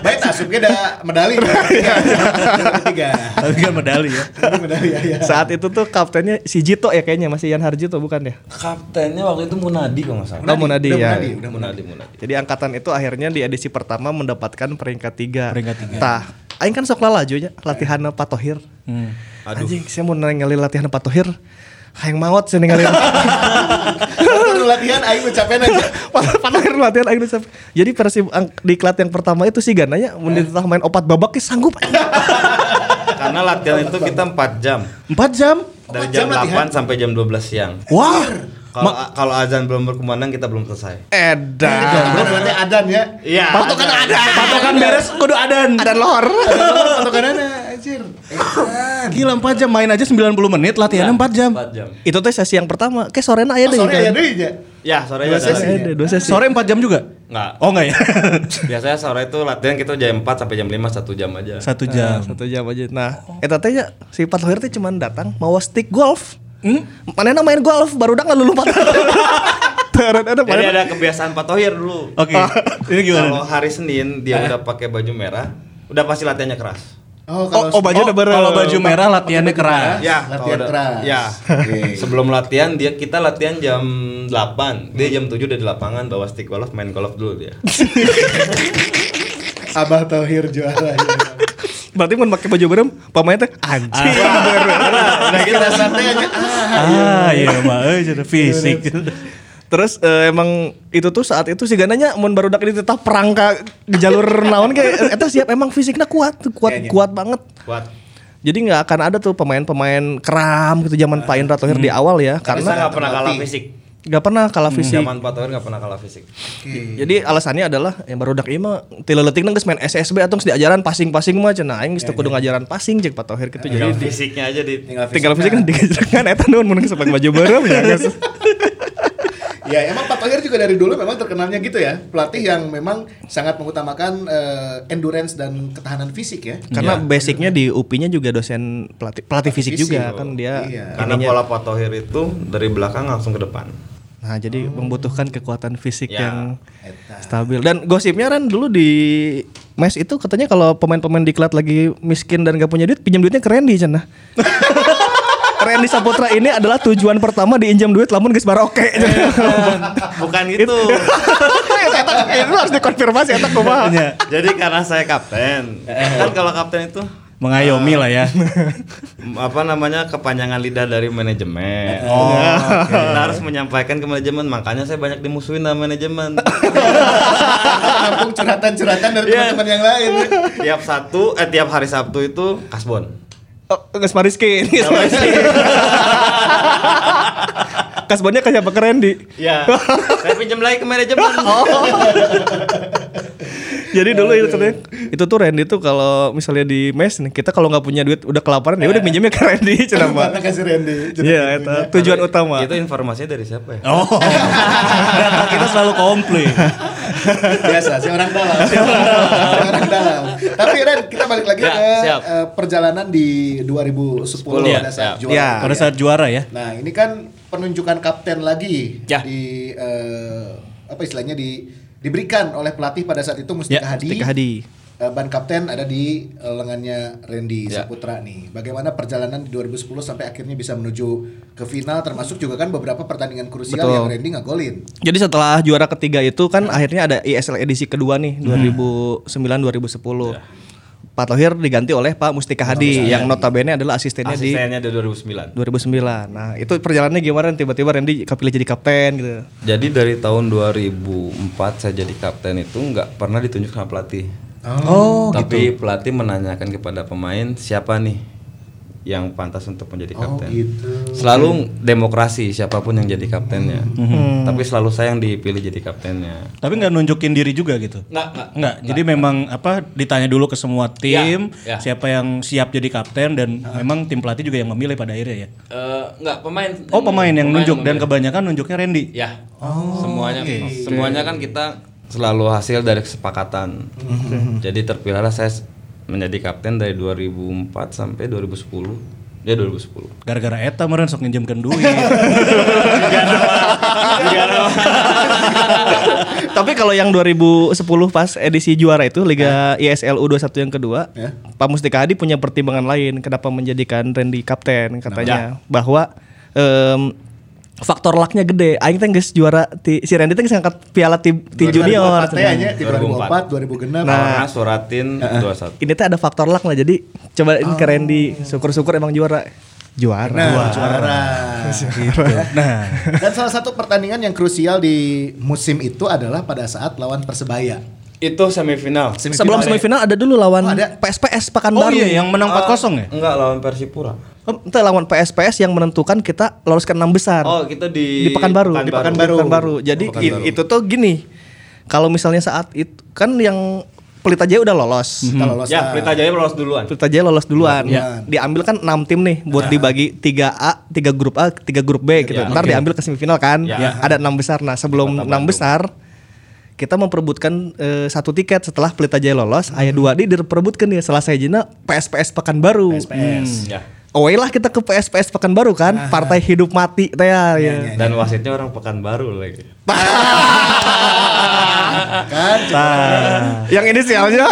Speaker 3: Baik tasubnya ada medali. Iya. Ketiga.
Speaker 2: Tapi kan medali ya.
Speaker 3: Medali ya ya.
Speaker 4: Saat itu tuh kaptennya si Jito ya kayaknya masih Yan Harjito bukan ya?
Speaker 5: Kaptennya waktu itu Munadi kalau nggak salah.
Speaker 4: Oh, Munadi
Speaker 3: udah
Speaker 4: ya.
Speaker 3: Munadi, udah
Speaker 5: Munadi, Munadi.
Speaker 4: Jadi angkatan itu akhirnya di edisi pertama mendapatkan peringkat tiga.
Speaker 2: Peringkat tiga.
Speaker 4: Tah, aing kan sok lala aja latihan Pak Tohir.
Speaker 2: Hmm.
Speaker 4: Anjing, saya mau ningali latihan Pak Tohir. Hayang maot saya ningali.
Speaker 3: Waktu latihan aing ucapin aja.
Speaker 4: Pak Tohir latihan aing nulis. Jadi persib ang- diklat yang pertama itu si Gananya menitah main opat babak ya sanggup.
Speaker 5: Karena latihan itu kita 4 jam.
Speaker 4: Empat jam.
Speaker 5: Dari
Speaker 3: Empat jam
Speaker 5: jam, 8
Speaker 3: latihan?
Speaker 5: sampai jam 12 siang.
Speaker 4: Wah.
Speaker 5: Kalau kalau azan belum berkumandang kita belum selesai.
Speaker 4: Edan.
Speaker 3: Belum berarti adan ya.
Speaker 5: Iya.
Speaker 3: Patokan ada.
Speaker 2: Patokan beres kudu adan.
Speaker 4: Ada lor.
Speaker 3: Patokan ada anjir.
Speaker 2: Gila 4 jam main aja 90 menit latihannya 4 jam.
Speaker 5: 4 jam.
Speaker 4: itu teh sesi yang pertama. Kayak sorena aya
Speaker 3: Oh,
Speaker 4: deh.
Speaker 3: Sorry
Speaker 4: kan?
Speaker 3: ya deh ya.
Speaker 5: Ya, sore aja.
Speaker 4: Sesi
Speaker 5: ada.
Speaker 4: ada, Dua sesi.
Speaker 2: Sore 4 jam juga?
Speaker 5: Nggak.
Speaker 2: Oh enggak ya.
Speaker 5: Biasanya sore itu latihan kita jam 4 sampai jam 5 satu jam aja.
Speaker 2: 1 jam.
Speaker 4: Nah, satu jam aja. Nah, eta teh nya, si Pat Hoyer teh cuman datang mau stick golf. Hmm? Manena main golf baru udah ngelulu pat. Taran ada
Speaker 5: Jadi
Speaker 4: manena.
Speaker 5: ada kebiasaan Pak Tohir dulu.
Speaker 2: Oke. Ini gimana?
Speaker 5: Kalau hari Senin dia udah pakai baju merah, udah pasti latihannya keras.
Speaker 3: Oh
Speaker 4: Oh, oh,
Speaker 3: kalau
Speaker 4: baju
Speaker 2: Oh,
Speaker 4: udah bareng.
Speaker 2: kalau baju merah latihannya keras.
Speaker 5: Ya,
Speaker 3: Latihan
Speaker 5: kalau udah-
Speaker 3: keras.
Speaker 5: Ya.
Speaker 3: Oke.
Speaker 5: Sebelum latihan dia kita latihan jam 8. Dia jam 7 udah di lapangan bawa stick golf main golf dulu dia.
Speaker 3: Abah Tohir juara. ya.
Speaker 4: Berarti mun pakai baju bareng pamain teh anjing.
Speaker 3: Nah kita santai aja. Ah,
Speaker 2: Ah, iya mah euy jadi fisik.
Speaker 4: Terus eh, emang itu tuh saat itu si Gananya mun baru udah tetap perang ka di jalur naon kayak eta siap emang fisiknya kuat, kuat kuat banget.
Speaker 5: Kuat.
Speaker 4: Jadi nggak akan ada tuh pemain-pemain keram gitu zaman Pak Indra Thohir di awal ya
Speaker 5: Karena
Speaker 4: karena
Speaker 5: nggak pernah kalah fisik.
Speaker 4: nggak pernah kalah fisik.
Speaker 5: Zaman Pak Tohir nggak pernah kalah fisik.
Speaker 4: Jadi alasannya adalah yang baru dak ieu mah ti leuletik geus main SSB atau geus diajaran passing-passing mah cenah aing geus teu kudu ngajaran passing jeung Pak Tohir kitu jadi
Speaker 5: Tinggal
Speaker 4: di-
Speaker 5: fisiknya aja di
Speaker 3: Tinggal fisik.
Speaker 4: tinggal fisik kan diajaran eta naon mun geus pakai baju bareng ya geus.
Speaker 3: Ya emang Pak Tohir juga dari dulu memang terkenalnya gitu ya pelatih yang memang sangat mengutamakan eh, endurance dan ketahanan fisik ya.
Speaker 4: Karena basicnya di UPI-nya juga dosen pelatih pelatih fisik
Speaker 3: Fisik,
Speaker 4: juga
Speaker 3: oh.
Speaker 4: kan dia.
Speaker 3: Iya.
Speaker 5: Karena
Speaker 4: ininya.
Speaker 5: pola Pak Tohir itu dari belakang langsung ke depan.
Speaker 4: Nah, jadi membutuhkan kekuatan fisik
Speaker 5: Ya,
Speaker 4: yang stabil. Dan gosipnya Ren dulu di mes itu katanya kalau pemain-pemain diklat lagi miskin dan gak punya duit, pinjam duitnya keren di cenah. Randy Saputra ini adalah tujuan pertama diinjam duit lamun geus baroke.
Speaker 5: Bukan gitu.
Speaker 4: Eta itu harus dikonfirmasi eta kumaha.
Speaker 2: Ya,
Speaker 5: Jadi karena saya kapten. Kan kalau kapten itu
Speaker 2: mengayomi lah ya.
Speaker 5: m- apa namanya kepanjangan lidah
Speaker 4: Eh,
Speaker 5: dari manajemen. Oh, kita harus menyampaikan ke manajemen. Makanya saya banyak dimusuhin sama manajemen.
Speaker 3: Kampung curhatan-curhatan dari
Speaker 5: Iya.
Speaker 3: teman-teman yang lain.
Speaker 5: tiap Sabtu, eh tiap hari Sabtu itu kasbon.
Speaker 4: Oh, Geus mariskin. Kasbonnya kayak apa keren di.
Speaker 5: Ya, saya pinjam lagi ke manajemen.
Speaker 4: Oh. Jadi dulu itu tuh, itu tuh Randy tuh kalau misalnya di mes nih kita kalau nggak punya duit udah kelaparan ya udah minjemnya ke Randy cenah mah.
Speaker 3: Terima kasih Randy. gitu.
Speaker 4: Iya, itu tujuan utama.
Speaker 5: Itu informasinya dari siapa ya?
Speaker 2: Oh. Data kita selalu komplit.
Speaker 3: Biasa si orang dalam. Si orang dalam. si orang dalam. Tapi Ren kita balik lagi
Speaker 5: Ya,
Speaker 3: ke
Speaker 5: siap.
Speaker 3: eh, perjalanan di 2010
Speaker 5: Iya,
Speaker 3: pada saat
Speaker 5: siap.
Speaker 3: juara.
Speaker 4: Iya.
Speaker 2: Pada saat juara ya.
Speaker 3: Nah, ini kan penunjukan kapten lagi
Speaker 5: Ya.
Speaker 3: di eh, apa istilahnya di diberikan oleh pelatih pada saat itu Mustika
Speaker 2: Ya,
Speaker 3: Hadi.
Speaker 4: Mustika Hadi.
Speaker 3: Eh, ban kapten ada di eh, lengannya Randy
Speaker 5: Ya.
Speaker 3: Saputra nih. Bagaimana perjalanan di 2010 sampai akhirnya bisa menuju ke final termasuk juga kan beberapa pertandingan krusial
Speaker 4: Betul.
Speaker 3: yang Randy ngagolin.
Speaker 4: Jadi setelah juara ketiga itu kan akhirnya ada ISL edisi kedua nih 2009 2010. Pak Tohir diganti oleh Ya. Pak Mustika Hadi yang notabene adalah asistennya di
Speaker 5: Asistennya dari 2009.
Speaker 4: 2009. Nah, itu perjalanannya gimana tiba-tiba Randy kepilih jadi kapten gitu.
Speaker 5: Jadi dari tahun 2004 saya jadi kapten itu nggak pernah ditunjuk sama pelatih.
Speaker 2: Oh,
Speaker 5: Tapi pelatih menanyakan kepada pemain siapa nih yang pantas untuk menjadi
Speaker 3: Oh
Speaker 5: kapten.
Speaker 3: gitu.
Speaker 5: Selalu demokrasi siapapun yang jadi kaptennya. Tapi selalu saya yang dipilih jadi kaptennya.
Speaker 2: Tapi nggak nunjukin diri juga gitu.
Speaker 5: Nggak, nggak.
Speaker 2: Nggak. Jadi memang apa ditanya dulu ke semua tim
Speaker 5: Ya, ya.
Speaker 2: siapa yang siap jadi kapten dan memang tim pelatih juga yang memilih pada akhirnya ya.
Speaker 5: enggak pemain.
Speaker 2: Oh pemain yang nunjuk dan kebanyakan nunjuknya Randy.
Speaker 5: Ya.
Speaker 3: Oh,
Speaker 5: semuanya semuanya kan kita selalu hasil dari kesepakatan.
Speaker 3: Hmm.
Speaker 5: Jadi terpilihlah saya s- menjadi kapten dari 2004 sampai 2010. Dia 2010.
Speaker 2: Gara-gara Eta meren sok nginjemkan duit.
Speaker 4: Tapi kalau yang 2010 pas edisi juara itu Liga ISL U21 yang kedua,
Speaker 3: Ya.
Speaker 4: Pak Mustika Hadi punya pertimbangan lain kenapa menjadikan Randy kapten katanya
Speaker 3: Ya.
Speaker 4: bahwa em, faktor lucknya gede. Aing teh geus juara ti, si Randy teh geus ngangkat piala tim tim junior.
Speaker 3: 2004 teh ya, nya, di
Speaker 5: 2004.
Speaker 3: 2004, 2006.
Speaker 5: Nah, Suratin 21.
Speaker 4: Ini teh ada faktor luck lah jadi coba ini ke Randy syukur-syukur emang juara. Juara.
Speaker 3: Oh. Nah, juara. Gitu.
Speaker 2: nah,
Speaker 3: Dan salah satu pertandingan yang krusial di musim itu adalah pada saat lawan Persebaya.
Speaker 5: Itu semifinal.
Speaker 4: Sebelum semifinal ada dulu lawan
Speaker 3: ya. Oh, ada.
Speaker 4: PSPS Pekanbaru.
Speaker 2: oh iya yang menang 4-0 ya?
Speaker 5: Enggak lawan Persipura.
Speaker 4: Oh, itu lawan PSPS yang menentukan kita lolos ke enam besar.
Speaker 5: Oh, kita
Speaker 4: di
Speaker 5: di
Speaker 4: Pekanbaru.
Speaker 5: Pekanbaru.
Speaker 4: Pekanbaru. Pekanbaru. Jadi
Speaker 5: Oh, Pekanbaru.
Speaker 4: i- itu tuh gini. Kalau misalnya saat itu kan yang Pelita Jaya udah lolos.
Speaker 3: Kita lolos.
Speaker 5: Ya, Pelita Jaya lolos duluan.
Speaker 4: Pelita Jaya lolos duluan.
Speaker 5: Iya.
Speaker 3: Duluan.
Speaker 4: Diambil kan 6 tim nih buat dibagi 3A, 3 grup A, 3 grup B gitu.
Speaker 5: Ya,
Speaker 4: Ntar
Speaker 5: Iya.
Speaker 4: diambil
Speaker 5: oke.
Speaker 4: ke semifinal kan.
Speaker 5: Ya.
Speaker 4: Ada 6 besar. Nah, sebelum
Speaker 5: Kota
Speaker 4: 6 besar kita memperebutkan eh, satu tiket setelah Pelita Jaya lolos,
Speaker 5: Mm-hmm.
Speaker 4: ayah dua di diperebutkan ya selesai jena PSPS Pekanbaru. Hmm.
Speaker 3: SPS.
Speaker 5: Ya.
Speaker 4: Away lah kita ke PSPS Pekanbaru kan, partai hidup mati teh ya.
Speaker 5: Dan wasitnya orang Pekanbaru lagi.
Speaker 3: Kan?
Speaker 4: Yang inisialnya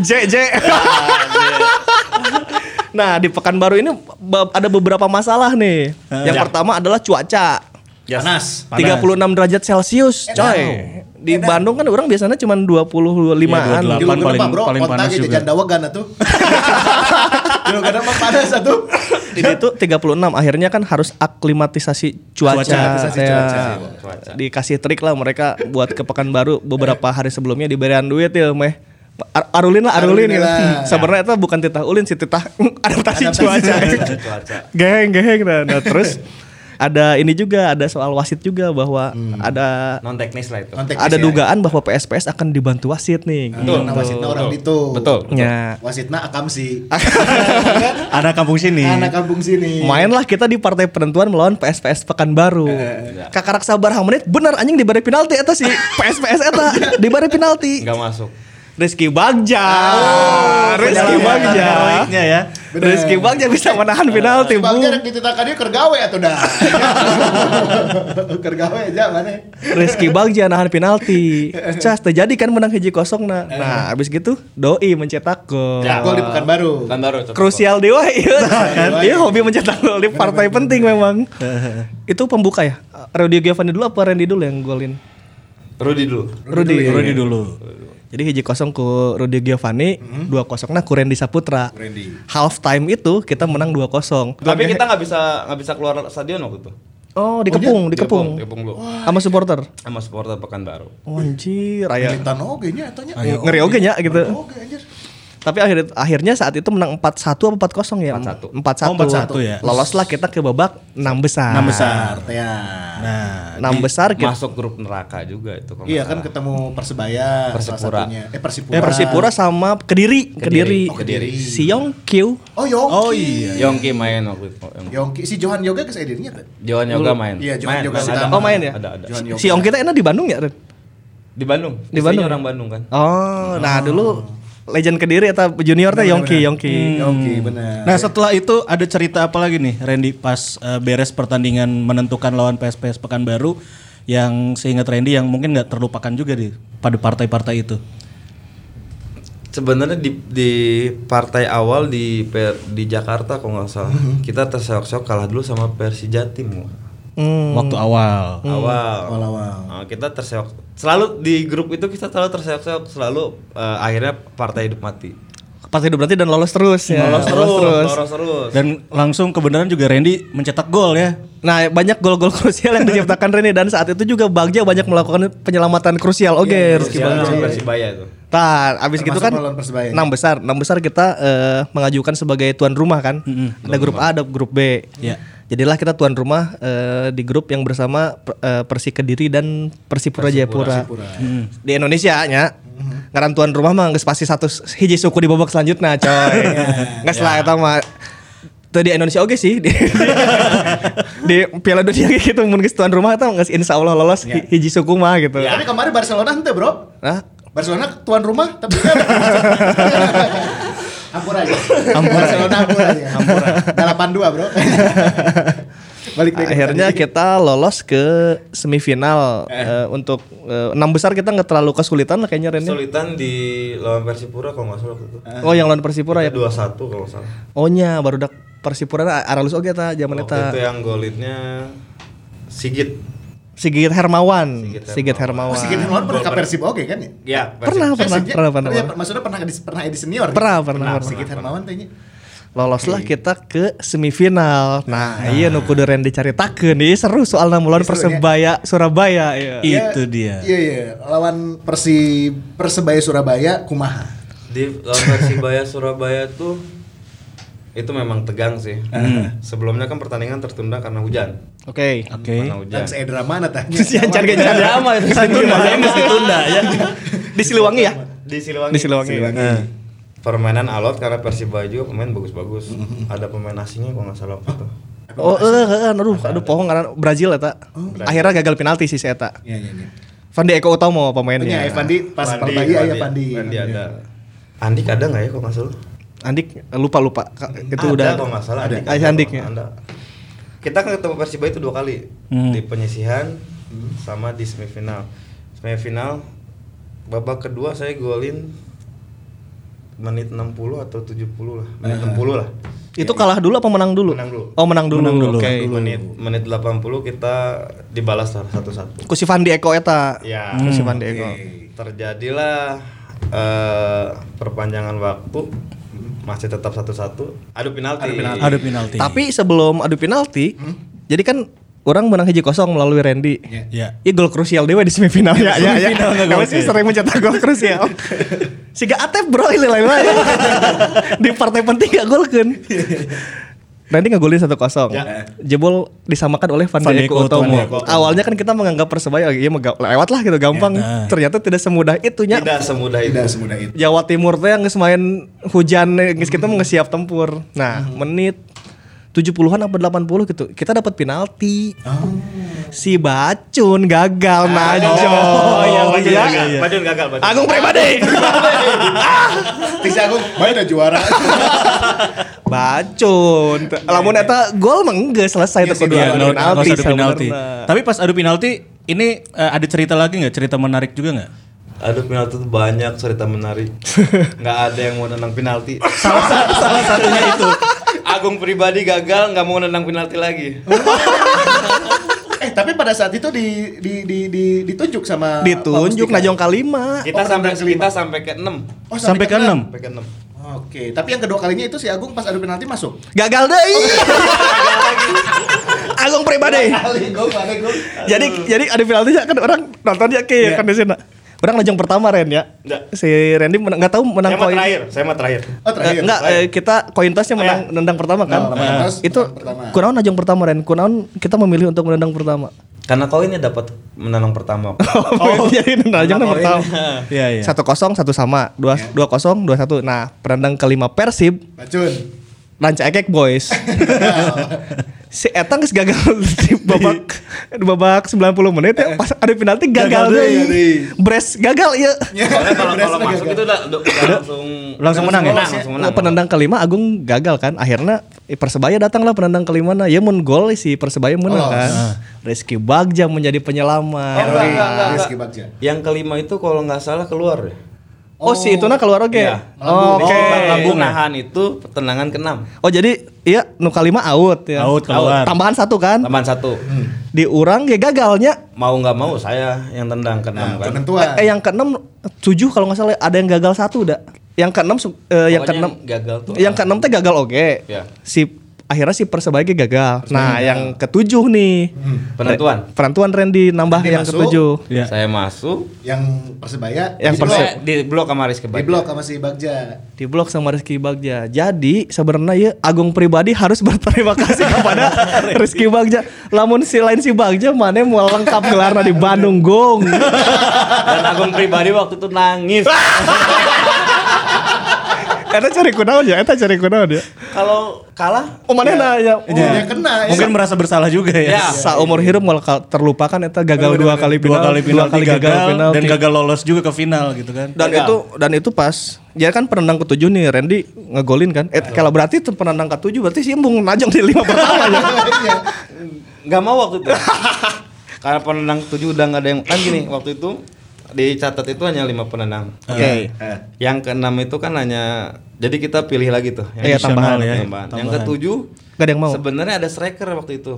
Speaker 4: JJ. nah, di Pekanbaru ini be- ada beberapa masalah nih. Yang pertama adalah cuaca.
Speaker 3: Panas.
Speaker 4: 36 derajat Celcius, coy. Di Bandung kan orang biasanya cuma 25-an.
Speaker 2: Iya, 28.
Speaker 3: Di
Speaker 2: Lapan
Speaker 3: Lugan
Speaker 2: paling-
Speaker 3: mah, bro,
Speaker 2: paling
Speaker 3: kontak
Speaker 2: panas
Speaker 3: itu
Speaker 2: juga.
Speaker 3: janda wagan atuh. Di Lugan mah panas atuh.
Speaker 4: Di situ 36 akhirnya kan harus aklimatisasi cuaca.
Speaker 2: Cuaca,
Speaker 3: aklimatisasi
Speaker 4: Ya.
Speaker 3: cuaca.
Speaker 5: Cuaca.
Speaker 4: Dikasih trik lah mereka buat ke Pekanbaru beberapa hari sebelumnya diberian duit ya, meh. Ar- arulin lah, arulin.
Speaker 3: Arulin
Speaker 4: gitu.
Speaker 3: lah.
Speaker 4: Sebenarnya itu bukan titah ulin sih titah adaptasi,
Speaker 3: Adaptasi
Speaker 4: cuaca.
Speaker 5: Cuaca.
Speaker 4: geheng, geheng. Nah, nah, terus ada ini juga, ada soal wasit juga bahwa ada
Speaker 5: Non teknis lah itu.
Speaker 3: Non-teknis
Speaker 4: ada
Speaker 3: ya.
Speaker 4: dugaan bahwa PSPS akan dibantu wasit nih.
Speaker 3: Betul. Nah, wasitna orang itu.
Speaker 5: Betul.
Speaker 4: Ya.
Speaker 3: Wasitna akamsi.
Speaker 4: Nah.
Speaker 2: Anak kampung sini.
Speaker 3: Anak kampung sini.
Speaker 4: Mainlah kita di partai penentuan melawan PSPS Pekanbaru. Kakak Raksa Barang menit benar anjing diberi penalti eta si PSPS eta diberi penalti. Oh,
Speaker 5: Enggak masuk.
Speaker 4: Rizky Bagja. Rizky
Speaker 3: benar.
Speaker 4: Bagja.
Speaker 2: Baliknya ya.
Speaker 3: Benar.
Speaker 4: Eh, Rizky Bagja bisa menahan penalti, Bu.
Speaker 3: Bangnya rek dititakannya keur gawe atuh dah. Keur gawe aja mana.
Speaker 4: Rizky Bagja nahan penalti. Cas terjadi kan menang hiji kosong nah. Nah, abis gitu doi mencetak gol.
Speaker 3: Ya, gol di Pekanbaru.
Speaker 5: Kan baru itu.
Speaker 4: Krusial dewa iya. Iya hobi mencetak gol di partai penting memang. eh. Itu pembuka ya. Rodrigo Giovanni dulu apa Randy dulu yang golin?
Speaker 5: Rudy dulu.
Speaker 4: Rudy.
Speaker 2: Rudy Iya. dulu.
Speaker 4: Jadi hiji kosong ku Rudy Giovanni, dua kosong nah ku Randy Saputra.
Speaker 3: Randy.
Speaker 4: Half time itu kita menang dua kosong.
Speaker 5: Tapi kita nggak bisa nggak bisa keluar stadion waktu itu.
Speaker 4: Oh
Speaker 5: iya.
Speaker 4: dikepung, dikepung,
Speaker 5: Dikepung dulu.
Speaker 4: sama supporter.
Speaker 5: Sama supporter Pekanbaru.
Speaker 4: Oh, anjir, aya
Speaker 3: Militan oge nya atuh nya.
Speaker 4: ngeri oge nya gitu.
Speaker 3: Oge anjir.
Speaker 4: Tapi akhir, akhirnya saat itu menang 4-1 apa 4-0 ya?
Speaker 5: 4-1.
Speaker 4: 4-1.
Speaker 2: Oh, 4-1 ya.
Speaker 4: Loloslah kita ke babak 6 besar. 6
Speaker 2: Enam besar.
Speaker 3: Ya.
Speaker 2: Nah,
Speaker 4: 6 besar kita
Speaker 5: Masuk grup neraka juga itu kalau nggak
Speaker 3: Iya kan
Speaker 5: salah.
Speaker 3: ketemu Persebaya salah
Speaker 5: Persipura.
Speaker 3: satunya. Eh Persipura.
Speaker 4: Eh, Persipura sama Kediri, Kediri.
Speaker 5: Oh, Kediri.
Speaker 4: Siong Q.
Speaker 3: Oh Yongki.
Speaker 2: Oh iya.
Speaker 5: Yongki main waktu itu. Yongki.
Speaker 3: Yongki si Johan Yoga ke Saidirnya tuh.
Speaker 5: Johan Yoga main.
Speaker 3: Iya, Johan
Speaker 5: Main,
Speaker 3: Yoga
Speaker 5: main,
Speaker 3: Sitama.
Speaker 5: ada,
Speaker 4: Oh main ya?
Speaker 5: Ada ada.
Speaker 3: Johan Yoga.
Speaker 4: Siong kita enak di Bandung ya, Ren?
Speaker 5: Di Bandung.
Speaker 4: Di Bandung.
Speaker 5: Di Bandung orang Bandung kan.
Speaker 4: Oh, nah dulu legend Kediri atau junior teh Yongki, Yongki.
Speaker 5: Hmm.
Speaker 3: Yongki
Speaker 4: Hmm.
Speaker 3: benar.
Speaker 2: Nah setelah itu ada cerita apa lagi nih Randy pas eh, beres pertandingan menentukan lawan PSPS Pekanbaru yang seingat Randy yang mungkin nggak terlupakan juga di pada partai-partai itu.
Speaker 5: Sebenarnya di, di partai awal di per, di Jakarta kalau nggak salah kita terseok-seok kalah dulu sama Persija Tim
Speaker 4: Hmm.
Speaker 2: Waktu awal.
Speaker 5: awal.
Speaker 3: Awal-awal.
Speaker 5: Nah, kita terseok selalu di grup itu kita selalu terseok-seok selalu eh, akhirnya partai hidup mati.
Speaker 4: Pas hidup berarti dan lolos terus ya.
Speaker 5: Lolos terus, lolos terus.
Speaker 2: Dan langsung kebenaran juga Randy mencetak gol ya.
Speaker 4: Nah, banyak gol-gol krusial yang diciptakan Rene dan saat itu juga Bagja banyak melakukan penyelamatan krusial. Oke,
Speaker 5: Iya,
Speaker 4: Rizky
Speaker 5: Siapa
Speaker 4: Bagja.
Speaker 5: lawan Persibaya tuh?
Speaker 4: Nah, abis
Speaker 3: Termasuk
Speaker 4: gitu kan
Speaker 3: melawan Persebaya.
Speaker 4: enam besar, enam besar kita eh, mengajukan sebagai tuan rumah kan. Ada grup A, ada grup B.
Speaker 2: Iya.
Speaker 4: Jadilah kita tuan rumah eh, di grup yang bersama per- eh, Persi Kediri dan Persipura Jayapura. Mm. Di Indonesia nya ngaran tuan rumah mah geus pasti satu s- hiji suku di babak selanjutnya, coy. Enggak salah eta mah. Tuh di Indonesia oke sih di, di Piala Dunia kayak gitu mun geus tuan rumah eta geus insyaallah lolos hi- hiji suku mah gitu.
Speaker 3: Iya. Tapi kemarin Barcelona ente bro.
Speaker 4: Nah,
Speaker 3: Barcelona tuan rumah tapi Ampur aja. Barcelona ampur aja. Ampur. Delapan dua bro. Balik deh. ke
Speaker 4: Akhirnya
Speaker 3: tadi.
Speaker 4: kita lolos ke semifinal Eh, untuk eh, enam besar kita nggak terlalu kesulitan lah kayaknya Rene.
Speaker 5: Kesulitan di lawan Persipura kalau nggak salah waktu itu.
Speaker 4: Oh yang lawan Persipura ya.
Speaker 5: Dua satu kalau nggak salah.
Speaker 4: Ohnya baru dak Persipura na- aralus oge ta zaman
Speaker 5: Waktu itu ya.
Speaker 4: eta
Speaker 5: yang golitnya Sigit.
Speaker 4: Sigit Hermawan.
Speaker 5: Sigit
Speaker 4: Sigit Hermawan.
Speaker 3: Oh, si Gini Hermawan pernah ke Persib oke kan ya?
Speaker 5: Ya,
Speaker 4: Pernah pernah
Speaker 5: Persib.
Speaker 3: Persib, ya?
Speaker 4: pernah pernah.
Speaker 3: Iya,
Speaker 4: pernah.
Speaker 3: Maksudnya pernah di pernah di senior. ya?
Speaker 4: Pernah, pernah,
Speaker 3: Si
Speaker 4: pernah.
Speaker 3: Gini Hermawan tanya.
Speaker 4: Loloslah kita ke semifinal. Nah, iya nu kudu Rene dicaritakeun ieu seru soalna melawan
Speaker 3: Seru, ya.
Speaker 4: Persebaya Surabaya iya.
Speaker 2: Itu dia.
Speaker 3: Iya iya, lawan Persib Persebaya Surabaya kumaha.
Speaker 5: Di lawan Persibaya Surabaya tuh itu memang tegang sih. Sebelumnya kan pertandingan tertunda karena hujan.
Speaker 4: Oke.
Speaker 2: Oke.
Speaker 5: Karena hujan.
Speaker 3: Dan seedra mana tanya.
Speaker 4: Si ancar
Speaker 3: iya.
Speaker 4: gencar ama itu santun mesti tunda ya. Di Siliwangi ya.
Speaker 5: Di Siliwangi.
Speaker 4: Di Siliwangi.
Speaker 5: Eh. Permainan alot karena Persibaya juga pemain bagus-bagus. Ada pemain asingnya kalau nggak salah waktu itu.
Speaker 4: Oh, eh, eh, aduh, aduh, pohon karena Brazil eta. Akhirnya gagal penalti sih si eta.
Speaker 3: Iya iya iya.
Speaker 4: Fandi Eko Utomo pemainnya.
Speaker 3: Punya ya, Evandi Iya, pas
Speaker 5: Pandi, Iya,
Speaker 3: Persebaya ya
Speaker 5: Pandi. Iya.
Speaker 3: Pandi.
Speaker 5: Pandi ada. Andik ada nggak ya kalau nggak salah?
Speaker 4: Andik lupa lupa Ka- itu
Speaker 5: Ada
Speaker 4: udah.
Speaker 5: kalau nggak salah
Speaker 4: Ada.
Speaker 5: ada
Speaker 4: Ah, si Andik ya.
Speaker 5: kalau nggak salah. Kita kan ketemu Persibaya itu dua kali di penyisihan sama di semifinal. Semifinal babak kedua saya golin menit 60 atau 70 lah. Menit 60 lah.
Speaker 4: Itu kalah dulu apa menang dulu?
Speaker 5: Menang dulu.
Speaker 4: Oh, menang dulu. Oke.
Speaker 5: Menit menit 80 kita dibalas satu-satu.
Speaker 4: Ku si Fandi Eko eta.
Speaker 5: Ya.
Speaker 4: Ku si Fandi Eko.
Speaker 5: terjadilah eh, perpanjangan waktu masih tetap satu-satu adu penalti
Speaker 2: Ada penalti.
Speaker 4: Tapi sebelum adu penalti, jadi kan orang menang hiji kosong melalui Randy.
Speaker 2: ya.
Speaker 4: Iya gol krusial dewa di semifinal ya ya ya.
Speaker 2: Semifinal nggak
Speaker 4: Kamu
Speaker 2: gol.
Speaker 4: sih sering mencetak gol krusial. Siga Atep bro ini lain lain. Di partai penting gak gol kan. Nanti ngegolin 1-0 Jebol disamakan oleh Van
Speaker 2: Van
Speaker 4: Dijk
Speaker 2: Dijk Utomo.
Speaker 4: Utomo Awalnya kan kita menganggap Persebaya Iya mega- lewat lah gitu gampang
Speaker 2: Ya, nah.
Speaker 4: Ternyata tidak semudah itunya
Speaker 5: tidak semudah itu
Speaker 3: Tidak semudah itu.
Speaker 4: Jawa Timur teh yang main hujan geus kita mau ngesiap tempur. Nah, menit 70-an apa 80 gitu. Kita dapat penalti. Si Bacun gagal najong.
Speaker 5: oh iya Badun
Speaker 4: Iya.
Speaker 5: gagal Badun gagal Badun.
Speaker 4: Agung Pribadi.
Speaker 3: Tisa aku main udah juara.
Speaker 4: Bacun. Lamun eta gol mah enggak selesai
Speaker 3: Iya
Speaker 4: tuh
Speaker 3: sih,
Speaker 4: kudu
Speaker 3: iya,
Speaker 4: adu
Speaker 2: Nggak
Speaker 4: penalti.
Speaker 2: usah
Speaker 4: nah.
Speaker 2: adu penalti.
Speaker 4: sebenarnya.
Speaker 2: Tapi pas adu penalti ini eh, ada cerita lagi nggak? Cerita menarik juga nggak?
Speaker 5: adu penalti tuh banyak cerita menarik nggak ada yang mau nendang penalti
Speaker 2: Salah, sa- salah satunya itu.
Speaker 5: Agung pribadi gagal nggak mau nendang penalti lagi
Speaker 3: eh tapi pada saat itu di di di, di ditunjuk sama Pak
Speaker 4: Ditunjuk
Speaker 3: Mustika.
Speaker 4: najong kalima.
Speaker 5: kita
Speaker 3: Oh,
Speaker 5: sampai
Speaker 3: nendang kelima.
Speaker 5: kita sampai ke 6
Speaker 3: Oh,
Speaker 2: Sampai ke enam.
Speaker 5: sampai ke 6
Speaker 3: Oke, tapi yang kedua kalinya itu si Agung pas adu penalti masuk.
Speaker 4: Gagal deui. Agung Pribadi.
Speaker 3: Kali gol, kali gol.
Speaker 4: jadi jadi ada penaltinya kan orang nonton ya kayak kan di sana. Orang lajang pertama Ren ya.
Speaker 5: Iya.
Speaker 4: Si Randy menang nggak tahu menang
Speaker 5: saya mah
Speaker 4: koin.
Speaker 5: terakhir saya mah terakhir
Speaker 3: Oh, terakhir.
Speaker 4: enggak, kita koin tasnya menang nendang pertama kan.
Speaker 3: Nah, lawan
Speaker 4: Nah,
Speaker 3: atas,
Speaker 4: itu
Speaker 3: menang pertama.
Speaker 4: kunaon najong pertama Ren. Kunaon kita memilih untuk menendang pertama.
Speaker 5: karena kau ini dapat menendang pertama
Speaker 4: Oh, jadi nendang
Speaker 5: Karena
Speaker 4: pertama.
Speaker 5: koinnya.
Speaker 2: Iya, iya.
Speaker 4: Satu kosong satu sama dua dua kosong dua satu. Nah penendang kelima Persib
Speaker 3: Bacun.
Speaker 4: Ranca Ekek Boys. si Etang geus gagal di babak di babak 90 menit ya pas ada penalti
Speaker 2: Gagal
Speaker 4: gagal,
Speaker 2: deui.
Speaker 4: deui. Bres gagal ya.
Speaker 5: Soalnya kalau kalau
Speaker 3: Berasa
Speaker 5: masuk
Speaker 3: gagal.
Speaker 5: itu udah, udah, udah langsung
Speaker 2: Langsung menang ya?
Speaker 5: menang, langsung menang.
Speaker 4: penendang kelima Agung gagal kan. Akhirnya eh, Persebaya datanglah penendang kelima nah ya mun gol si Persebaya menang
Speaker 3: Lolos.
Speaker 4: kan. Rizky Bagja menjadi
Speaker 5: Oh,
Speaker 4: penyelamat.
Speaker 5: enggak, enggak, enggak,
Speaker 3: Rizky
Speaker 5: enggak.
Speaker 3: Bagja.
Speaker 5: Yang kelima itu kalau nggak salah keluar ya.
Speaker 4: Oh, si itu nah keluar oke.
Speaker 5: Iya,
Speaker 4: Oh, Oke.
Speaker 5: Lambung nahan itu tendangan keenam.
Speaker 4: Oh jadi iya nu kelima out ya.
Speaker 2: Out, keluar.
Speaker 4: Tambahan satu kan.
Speaker 5: Tambahan satu.
Speaker 4: Di urang ya gagalnya
Speaker 5: Mau nggak mau
Speaker 3: Nah,
Speaker 5: saya yang tendang keenam kan.
Speaker 3: Penentuan.
Speaker 4: ya. Eh, eh, yang keenam tujuh kalau nggak salah ada yang gagal satu udah. yang keenam su- eh, yang
Speaker 5: Pokoknya
Speaker 4: keenam
Speaker 5: yang gagal tuh
Speaker 4: yang keenam teh gagal oke
Speaker 5: Ya.
Speaker 4: si akhirnya si persebaya ge gagal nah yang ketujuh nih Re-
Speaker 5: Penentuan.
Speaker 4: penentuan Randy nambah
Speaker 3: Randy
Speaker 4: yang
Speaker 3: masuk.
Speaker 4: ketujuh
Speaker 2: Iya.
Speaker 5: Saya masuk.
Speaker 3: yang persebaya
Speaker 4: Yang
Speaker 3: di
Speaker 5: Di blok-
Speaker 3: blok.
Speaker 5: Di blok sama Rizky
Speaker 3: di
Speaker 5: Bagja.
Speaker 3: blok sama si Bagja
Speaker 4: di blok sama Rizky Bagja. Jadi sebenarnya ya Agung pribadi harus berterima kasih kepada Rizky Bagja. Lamun si lain si Bagja mana mau lengkap gelarna di Bandung gong.
Speaker 5: Dan Agung pribadi waktu itu nangis.
Speaker 4: Eta cari kunaon ya, eta cari kunaon ya.
Speaker 5: Kalau kalah
Speaker 4: Oh mana nanya?
Speaker 3: oh dia kena ya
Speaker 2: Mungkin merasa bersalah juga ya.
Speaker 5: Ya.
Speaker 4: Saumur hirup malah ka- terlupakan eta gagal dua kali
Speaker 2: Dua
Speaker 4: final,
Speaker 2: kali final, gagal, dan
Speaker 4: penalti.
Speaker 2: gagal lolos juga ke final gitu kan.
Speaker 4: dan itu dan itu pas dia kan penendang ketujuh nih Randy ngegolin kan eh kalau berarti tuh penendang ketujuh berarti si Embung najong di lima pertama ya
Speaker 3: Iya.
Speaker 5: nggak mau waktu itu. Karena penenang tujuh udah nggak ada yang kan gini waktu itu dicatat itu hanya lima penenang. Nah,
Speaker 4: oke
Speaker 3: Eh,
Speaker 5: Yang keenam itu kan hanya jadi kita pilih lagi tuh.
Speaker 4: Iya, tambahan
Speaker 5: additional,
Speaker 2: ya.
Speaker 5: tambahan. Yang
Speaker 2: Tambahan.
Speaker 5: ketujuh
Speaker 4: Nggak ada yang mau.
Speaker 5: Sebenarnya ada striker waktu itu.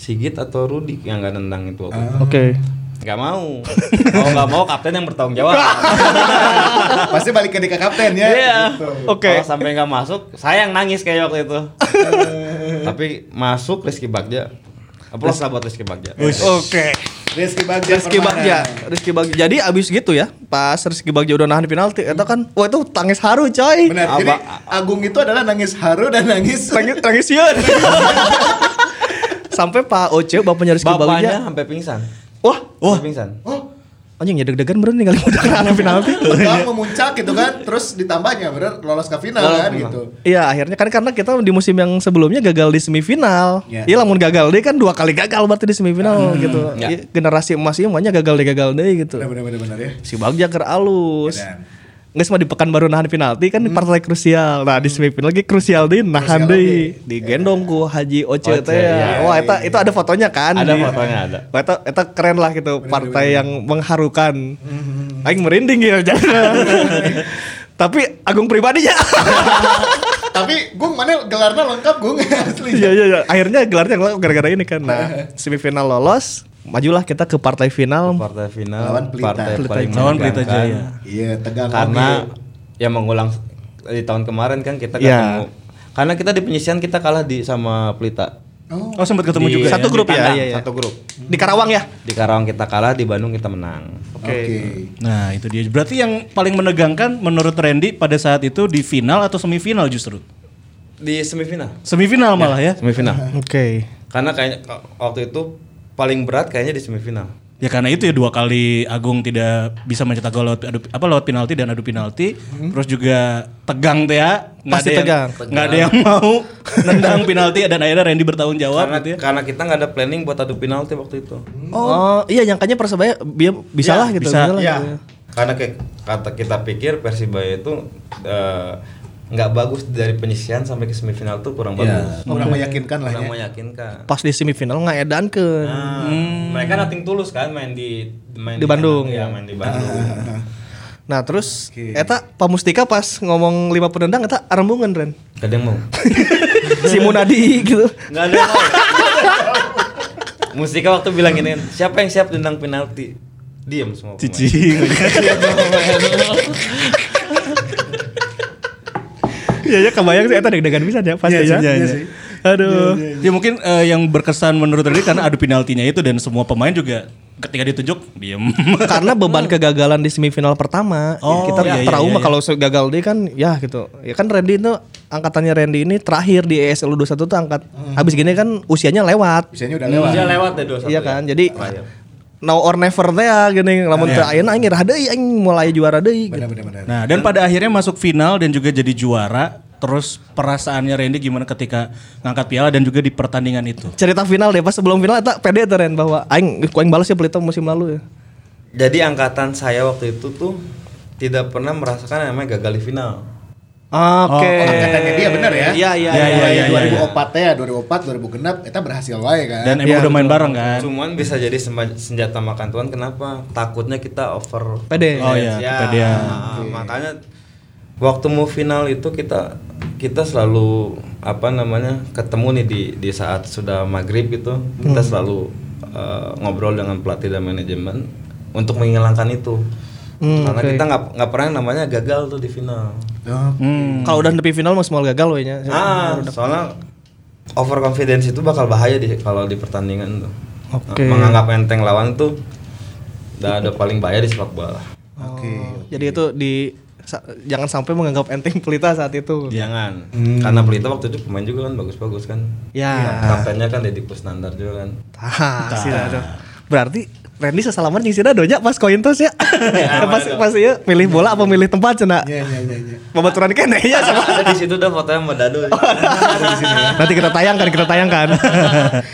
Speaker 5: Sigit atau Rudi yang nggak nendang itu waktu. itu.
Speaker 4: oke
Speaker 5: Nggak mau. Mau nggak mau kapten yang bertanggung jawab.
Speaker 3: pasti balik ke Dika kapten ya
Speaker 5: Iya.
Speaker 3: gitu.
Speaker 4: Oke.
Speaker 5: Kalau sampai nggak masuk, saya yang nangis kayak waktu itu. Tapi masuk Rizky Bagja. Aplaus lah buat Rizky Bagja.
Speaker 4: Oke.
Speaker 3: Rizky Bagja
Speaker 4: Rizky
Speaker 3: permana.
Speaker 4: Bagja, Rizky Bagja. Jadi abis gitu ya, pas Rizky Bagja udah nahan penalti, itu kan, wah itu tangis haru coy.
Speaker 3: benar jadi
Speaker 5: Apa-
Speaker 3: Agung itu adalah nangis haru dan nangis
Speaker 4: Tangis, tangis yeun. Sampai Pak Oce bapaknya Rizky
Speaker 5: Bapaknya
Speaker 4: Bagja.
Speaker 5: sampai pingsan.
Speaker 4: Wah,
Speaker 5: Wah, pingsan.
Speaker 3: oh
Speaker 4: anjing ya deg-degan bener nih kali udah nahan penalti.
Speaker 3: Bang memuncak gitu kan terus ditambahnya bener lolos ke final
Speaker 5: Lolos
Speaker 3: kan
Speaker 5: ke final.
Speaker 3: gitu
Speaker 4: Iya akhirnya kan karena kita di musim yang sebelumnya gagal di semifinal.
Speaker 3: Iya.
Speaker 4: Iya lamun gagal deh kan dua kali gagal berarti di semifinal gitu.
Speaker 5: Iya.
Speaker 4: Iya, Generasi emas ieu mah nya gagal deh gagal deh gitu.
Speaker 3: benar benar benar benar ya
Speaker 4: si Bagja ker alus.
Speaker 5: Iya,
Speaker 3: Edan.
Speaker 4: Nggak cuma di pekan baru nahan penalti kan di
Speaker 5: Hmm.
Speaker 4: partai krusial. Nah di semifinal lagi krusial deh nahan
Speaker 3: Krusial
Speaker 4: deh.
Speaker 3: lagi.
Speaker 4: Digendong ku Haji Oce
Speaker 5: Oce,
Speaker 4: teh.
Speaker 5: iya,
Speaker 4: Wah eta itu ada fotonya kan? di-
Speaker 5: Ada fotonya, ada.
Speaker 4: Wah eta eta keren lah gitu partai yang mengharukan.
Speaker 5: Hmm,
Speaker 4: Aing merinding ya jangan. Tapi Agung pribadinya.
Speaker 3: tapi Gung mana gelarnya lengkap Gung asli
Speaker 4: Iya iya iya. Akhirnya gelarnya ngelak gara-gara ini kan. Nah, semifinal lolos, majulah kita ke partai final.
Speaker 5: Partai final,
Speaker 3: Lawan Pelita.
Speaker 5: partai
Speaker 3: Pelita
Speaker 5: paling
Speaker 2: Jaya. Lawan Pelita
Speaker 5: menegangkan.
Speaker 2: Jaya.
Speaker 3: iya tegang
Speaker 5: Karena
Speaker 3: oke.
Speaker 5: ya mengulang di tahun kemarin kan kita
Speaker 4: Iya.
Speaker 5: ketemu. Karena kita di penyisian kita kalah di sama Pelita.
Speaker 3: oh
Speaker 2: Oh sempat ketemu
Speaker 5: Di-
Speaker 2: juga.
Speaker 4: Satu
Speaker 5: di
Speaker 4: grup ya?
Speaker 5: kandang,
Speaker 4: Iya, iya.
Speaker 5: Satu grup.
Speaker 4: Di Karawang ya.
Speaker 5: Di Karawang kita kalah, di Bandung kita menang.
Speaker 3: oke
Speaker 2: Nah itu dia. Berarti yang paling menegangkan menurut Randy pada saat itu di final atau semifinal justru?
Speaker 5: Di semifinal.
Speaker 2: Semifinal malah ya.
Speaker 5: Semifinal.
Speaker 4: Oke.
Speaker 5: Karena kayaknya k- waktu itu paling berat kayaknya di semifinal.
Speaker 2: Ya karena itu ya dua kali Agung tidak bisa mencetak gol lewat adu- apa lewat penalti dan adu penalti, terus juga tegang teh ya. Nggak
Speaker 4: Hmm. Pasti
Speaker 2: ada yang-
Speaker 4: tegang.
Speaker 2: Nggak ada yang mau nendang penalti dan akhirnya Randy bertanggung jawab
Speaker 5: karena,
Speaker 2: gitu ya.
Speaker 5: karena kita nggak ada planning buat adu penalti waktu itu.
Speaker 4: Oh, iya nyangkanya persebaya bi- bisa
Speaker 5: Iya,
Speaker 4: lah gitu.
Speaker 2: bisa.
Speaker 4: lah
Speaker 5: Iya.
Speaker 4: gitu.
Speaker 5: Karena kayak kata kita pikir Persibaya itu eh, nggak bagus dari penyisian sampai ke semifinal tuh
Speaker 4: Iya.
Speaker 5: kurang bagus.
Speaker 3: kurang meyakinkan lah
Speaker 5: Kurang
Speaker 3: ya
Speaker 5: meyakinkan.
Speaker 4: Pas di semifinal ngaedan ke.
Speaker 2: Ah.
Speaker 5: Nah, mereka nating tulus kan main di main
Speaker 4: Di Bandung,
Speaker 5: ya,
Speaker 4: ya.
Speaker 5: main di Bandung.
Speaker 4: Nah, terus eta Pamustika pas ngomong lima penendang eta arembungan Ren.
Speaker 5: Gak ada yang mau.
Speaker 4: si Munadi gitu.
Speaker 5: Gak ada yang mau. Mustika waktu bilang gini, siapa yang siap tendang penalti? Diam semua. pemain.
Speaker 2: Cici. gitu.
Speaker 4: Iya ya kebayang sih eta deg-degan bisa ya pasti
Speaker 2: Iya sih,
Speaker 4: ya.
Speaker 2: iya, iya.
Speaker 4: Aduh.
Speaker 2: Ya mungkin eh, yang berkesan menurut Randy karena adu penaltinya itu dan semua pemain juga ketika ditunjuk diem.
Speaker 4: Karena beban kegagalan di semifinal pertama, ya
Speaker 2: Oh,
Speaker 4: kita
Speaker 2: iya, iya,
Speaker 4: trauma
Speaker 2: iya.
Speaker 4: kalau se- gagal dia kan ya gitu. Ya kan Randy itu angkatannya Randy ini terakhir di E ESL 21 tuh angkat. Habis gini kan usianya lewat.
Speaker 3: usianya udah lewat
Speaker 5: Dia lewat deh dua satu. ya.
Speaker 4: Iya kan, jadi
Speaker 5: Terakhir.
Speaker 4: now or never teh ya gini lamun teu ayeuna aing rada deui aing mulai juara deui gitu.
Speaker 3: benar benar benar
Speaker 2: Nah, dan pada akhirnya masuk final dan juga jadi juara. Terus perasaannya Randy gimana ketika ngangkat piala dan juga di pertandingan itu?
Speaker 4: Cerita final deh pas sebelum final eta pede teh Ren bahwa aing ku aing balas ya pelita musim lalu ya.
Speaker 5: Jadi angkatan saya waktu itu tuh tidak pernah merasakan yang namanya gagal di final.
Speaker 4: Oke.
Speaker 3: angkatannya dia benar ya
Speaker 4: Iya iya
Speaker 2: Iya,
Speaker 4: iya.
Speaker 2: iya.
Speaker 3: Mulai 2004 ya 2004 2006 itu berhasil wae kan
Speaker 2: Dan emang udah main bareng kan?
Speaker 5: ya. Cuman bisa jadi sema- senjata makan Tuhan kenapa? Takutnya kita over.
Speaker 4: Pede.
Speaker 2: Oh iya,
Speaker 5: Ya,
Speaker 2: kepedean.
Speaker 5: makanya waktu mau final itu kita kita selalu apa namanya ketemu nih di di saat sudah maghrib gitu kita selalu eh, ngobrol dengan pelatih dan manajemen untuk menghilangkan itu Karena kita nggak nggak pernah namanya gagal tuh di final.
Speaker 3: Oh,
Speaker 4: Kalau udah nepi final mas mau gagal we nya.
Speaker 5: Ah, soalnya overconfidence itu bakal bahaya di kalau di pertandingan tuh.
Speaker 4: Oke.
Speaker 5: Menganggap enteng lawan tuh udah ada paling bahaya di sepak bola.
Speaker 3: Oke.
Speaker 4: Oh. Jadi itu di sa- jangan sampai menganggap enteng pelita saat itu.
Speaker 5: Jangan. Karena Pelita waktu itu pemain juga kan bagus-bagus kan.
Speaker 4: Ya.
Speaker 5: Kaptennya kan Deddy Kusnandar juga kan.
Speaker 4: Tah, si Rado. Berarti Randy sesalaman jeung si Rado nya pas koin tos ya. pas pas ieu milih bola apa milih tempat cenah.
Speaker 3: Iya iya iya iya.
Speaker 4: Babaturan kene ya sama.
Speaker 5: Ada di situ udah fotonya sama Dado.
Speaker 4: Nanti kita tayangkan, kita tayangkan.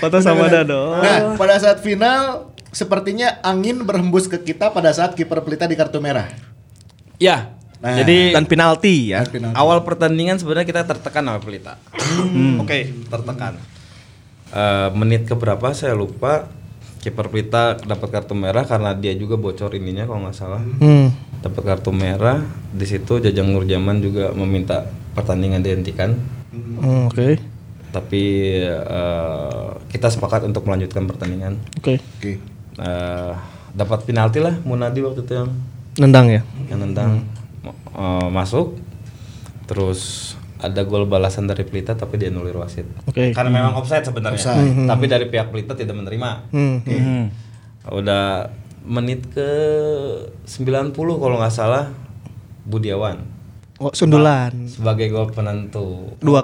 Speaker 4: Foto sama Dado.
Speaker 3: Nah, pada saat final sepertinya angin berhembus ke kita pada saat kiper Pelita di kartu merah.
Speaker 5: Ya.
Speaker 3: Nah.
Speaker 5: Jadi
Speaker 4: Eh, Dan penalti ya.
Speaker 3: Dan penalti.
Speaker 5: awal pertandingan sebenarnya kita tertekan sama Pelita.
Speaker 4: Oke.
Speaker 3: Hmm.
Speaker 5: tertekan. Eh, menit keberapa saya lupa. Kiper Pelita dapat kartu merah karena dia juga bocor ininya kalau nggak salah.
Speaker 4: Hmm.
Speaker 5: Dapat kartu merah. Di situ Jajang Nurjaman juga meminta pertandingan dihentikan.
Speaker 4: Hmm, Oke.
Speaker 5: Tapi eh, kita sepakat untuk melanjutkan pertandingan.
Speaker 4: Oke.
Speaker 3: Oke.
Speaker 5: Eh, dapat penalti lah Munadi waktu itu yang
Speaker 4: Nendang ya.
Speaker 5: yang nendang Ma- eh, masuk. Terus ada gol balasan dari Pelita tapi dianulir wasit.
Speaker 4: Oke.
Speaker 5: Karena memang offside sebenarnya. Hmm. Tapi dari pihak Pelita tidak menerima.
Speaker 4: Hmm.
Speaker 2: Iya.
Speaker 5: Udah menit ke 90 kalau nggak salah Budiawan
Speaker 4: Oh, sundulan.
Speaker 5: sebagai gol penentu.
Speaker 4: 2-0
Speaker 3: Dua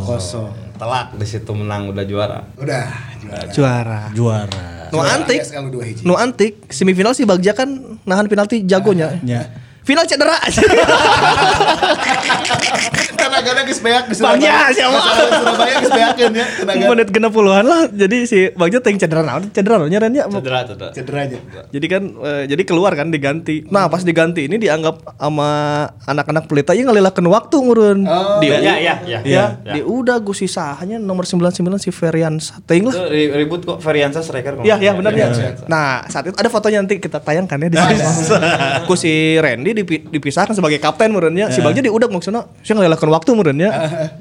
Speaker 3: kosong.
Speaker 5: Telak di situ menang udah juara.
Speaker 3: Udah juara.
Speaker 4: juara.
Speaker 2: Iya. juara.
Speaker 4: Nu antik.
Speaker 3: SL dua hiji.
Speaker 4: Nu antik semifinal si Bagja kan nahan penalti jagonya.
Speaker 2: Ya.
Speaker 4: Final cedera.
Speaker 3: Tenaga geus beak di
Speaker 4: Bangnya, siapa?
Speaker 3: Masalah di Surabaya geus beakeun ya tenaga
Speaker 4: Menit genep puluhan lah. Jadi si Bagja teng cedera naon? Cedera naonnya Ren ya?
Speaker 5: Cedera cedera.
Speaker 3: cederanya.
Speaker 4: Jadi kan eh, jadi keluar kan diganti. Nah, pas diganti ini dianggap sama anak-anak pelita ya ngelilakeun waktu ngurun.
Speaker 3: Oh.
Speaker 4: di
Speaker 5: Ya ya ya.
Speaker 4: ya, di udah gue sisanya nomor 99 si Ferian Sateng
Speaker 5: Itu
Speaker 4: lah.
Speaker 5: ri- ribut kok Variansa striker.
Speaker 4: Ya, ya benar ya.
Speaker 5: Variansa.
Speaker 4: Nah, saat itu ada fotonya nanti kita tayangkan ya di sini.
Speaker 5: Iya.
Speaker 4: Ku si Randy dipi- dipisahkan sebagai kapten menurutnya.
Speaker 5: Iya.
Speaker 4: Si Bagja diudak maksudnya. Saya ngelilakeun waktu menurutnya.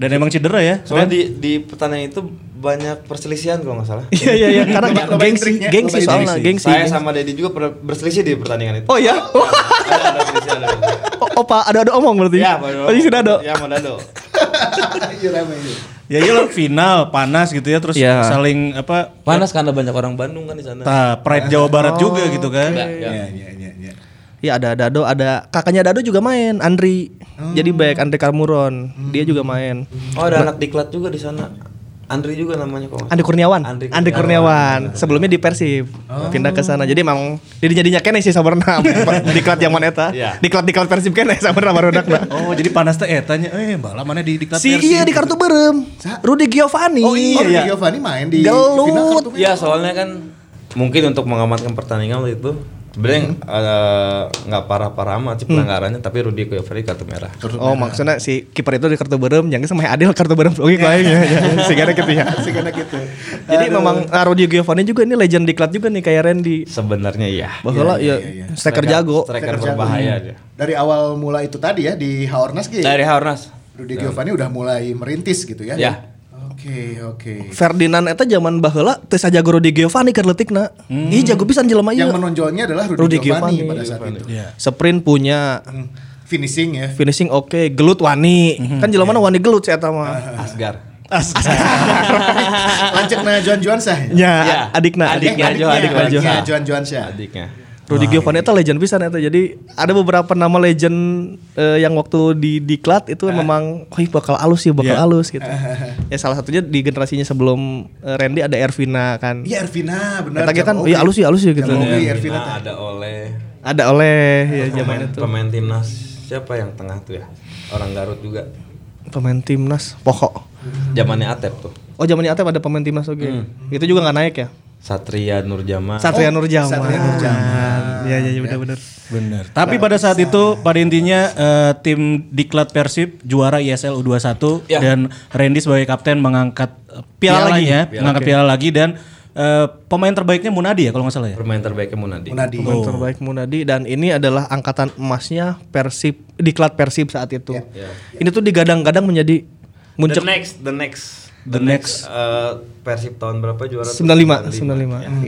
Speaker 2: Dan emang cedera ya.
Speaker 5: Soalnya di di pertandingan itu banyak perselisihan kalau nggak salah.
Speaker 4: Iya iya iya karena
Speaker 3: Coba- coba
Speaker 4: gengsi
Speaker 3: intriknya,
Speaker 4: gengsi
Speaker 3: coba
Speaker 4: soalnya gengsi.
Speaker 5: Saya sama Dedi juga pernah berselisih di pertandingan itu.
Speaker 4: Oh ya.
Speaker 5: Ada- ada perselisihan, ada perselisihan.
Speaker 4: Opa ada ada omong berarti. Oh,
Speaker 5: Ya, Pak.
Speaker 4: Tadi sudah ada.
Speaker 5: Ya, Pak Dado.
Speaker 3: Iya rame iya.
Speaker 2: Ya iyalah final panas gitu ya terus
Speaker 4: Ya.
Speaker 2: saling apa
Speaker 5: Panas karena banyak orang Bandung kan di sana.
Speaker 2: ta, pride Jawa Barat juga gitu kan.
Speaker 3: Iya iya iya iya.
Speaker 4: Ya ada Dado, ada kakaknya Dado juga main, Andri. Jadi baik Andri Karmuron, dia juga main.
Speaker 5: Oh, ada anak diklat juga di sana. Andri juga namanya kok.
Speaker 4: Andri Kurniawan,
Speaker 5: Andri
Speaker 4: Andri, Kurniawan. Sebelumnya di Persib, pindah ke sana. Jadi memang jadi jadinya kene sih sabarna diklat zaman eta.
Speaker 5: Iya.
Speaker 4: Diklat-diklat Persib kene sabarna barodakna.
Speaker 2: Oh, jadi panas teh eh tanya, eh bala mana di diklat
Speaker 4: si
Speaker 2: versi
Speaker 4: iya di
Speaker 2: gitu.
Speaker 4: kartu berem, Rudy Giovanni.
Speaker 3: Oh
Speaker 4: ya.
Speaker 3: iya, Rudy Giovanni main di
Speaker 4: Gelut.
Speaker 3: final kartu merah.
Speaker 5: Ya, soalnya kan mungkin untuk mengamankan pertandingan waktu itu
Speaker 4: Hmm.
Speaker 5: sebenarnya eh, nggak parah-parah amat sih pelanggarannya, tapi Rudy Koyoveri kartu merah.
Speaker 4: Oh maksudnya si kiper itu di kartu berem, yang sama Adil kartu berem oke lainnya. Sigana gitu ya.
Speaker 3: Segala gitu.
Speaker 4: Jadi memang ah, Rudy Giovanni juga ini legend diklat juga nih kayak Randy.
Speaker 5: Sebenarnya iya.
Speaker 4: Bahwa ya, striker jago.
Speaker 5: Striker berbahaya dia.
Speaker 3: Dari awal mula itu tadi ya di Haornas gitu. ya?
Speaker 5: Dari Haornas.
Speaker 3: Rudy Giovanni udah mulai merintis gitu ya.
Speaker 5: Ya.
Speaker 3: Oke, oke.
Speaker 4: Ferdinand eta zaman baheula teu sajago Rudy Giovanni keur leutikna. Ih jago pisan jelema ieu.
Speaker 3: Yang menonjolnya adalah
Speaker 4: Rudy
Speaker 3: Rudy, Giovanni,
Speaker 4: Giovanni. Iya.
Speaker 3: pada saat itu.
Speaker 4: Sprint punya,
Speaker 3: Hmm. Finishing ya.
Speaker 4: finishing oke, gelut wani. Kan jelema na wani gelut si eta mah.
Speaker 5: Asgar.
Speaker 2: kan?
Speaker 3: Lancekna Juan Juan Sah.
Speaker 4: Nya
Speaker 5: Ya,
Speaker 4: adikna.
Speaker 5: adiknya Jo, adik
Speaker 4: adikna Jo.
Speaker 3: Adiknya Juan Juan
Speaker 4: Ah.
Speaker 3: Sah.
Speaker 5: Adiknya.
Speaker 4: Rudy Giovanni
Speaker 3: iya.
Speaker 4: eta legend pisan eta. Jadi ada beberapa nama legend eh, yang waktu di diklat itu
Speaker 3: Eh.
Speaker 4: memang wih bakal alus sih, bakal
Speaker 3: Iya.
Speaker 4: alus gitu. ya salah satunya di generasinya sebelum eh, Randy ada Ervina kan.
Speaker 3: Iya Ervina benar. Oh,
Speaker 4: Eta ge kan
Speaker 3: Jam
Speaker 4: iya
Speaker 3: Ogi.
Speaker 4: alus sih, alus sih gitu.
Speaker 3: Jam Ogi,
Speaker 5: Ervina,
Speaker 3: Ervina. teh.
Speaker 5: ada oleh
Speaker 4: Ada oleh ya
Speaker 5: pemain,
Speaker 4: zaman itu.
Speaker 5: pemain timnas siapa yang tengah tuh ya? Orang Garut juga.
Speaker 4: pemain timnas pokok
Speaker 5: Zamannya Atep tuh.
Speaker 4: oh zamannya Atep ada pemain timnas oke
Speaker 3: Hmm.
Speaker 4: itu juga nggak naik ya
Speaker 5: Satria Nurjama.
Speaker 4: Satria
Speaker 3: Oh,
Speaker 4: Nurjaman
Speaker 3: Satria Nurjaman.
Speaker 4: iya iya ya, benar-benar
Speaker 2: Bener. Tapi pada saat itu pada intinya eh, tim diklat Persib juara ISL U21
Speaker 5: Ya.
Speaker 2: dan Randy sebagai kapten mengangkat eh, piala, lagi ya, mengangkat piala lagi dan eh, pemain terbaiknya Munadi ya kalau nggak salah ya.
Speaker 5: Pemain terbaiknya Munadi.
Speaker 3: Munadi.
Speaker 4: pemain terbaik Munadi dan ini adalah angkatan emasnya Persib Iya. diklat Persib saat itu ini tuh digadang-gadang menjadi muncul
Speaker 5: next, the next.
Speaker 2: the next
Speaker 5: Eh, Persib tahun berapa juara? tuh?
Speaker 4: 95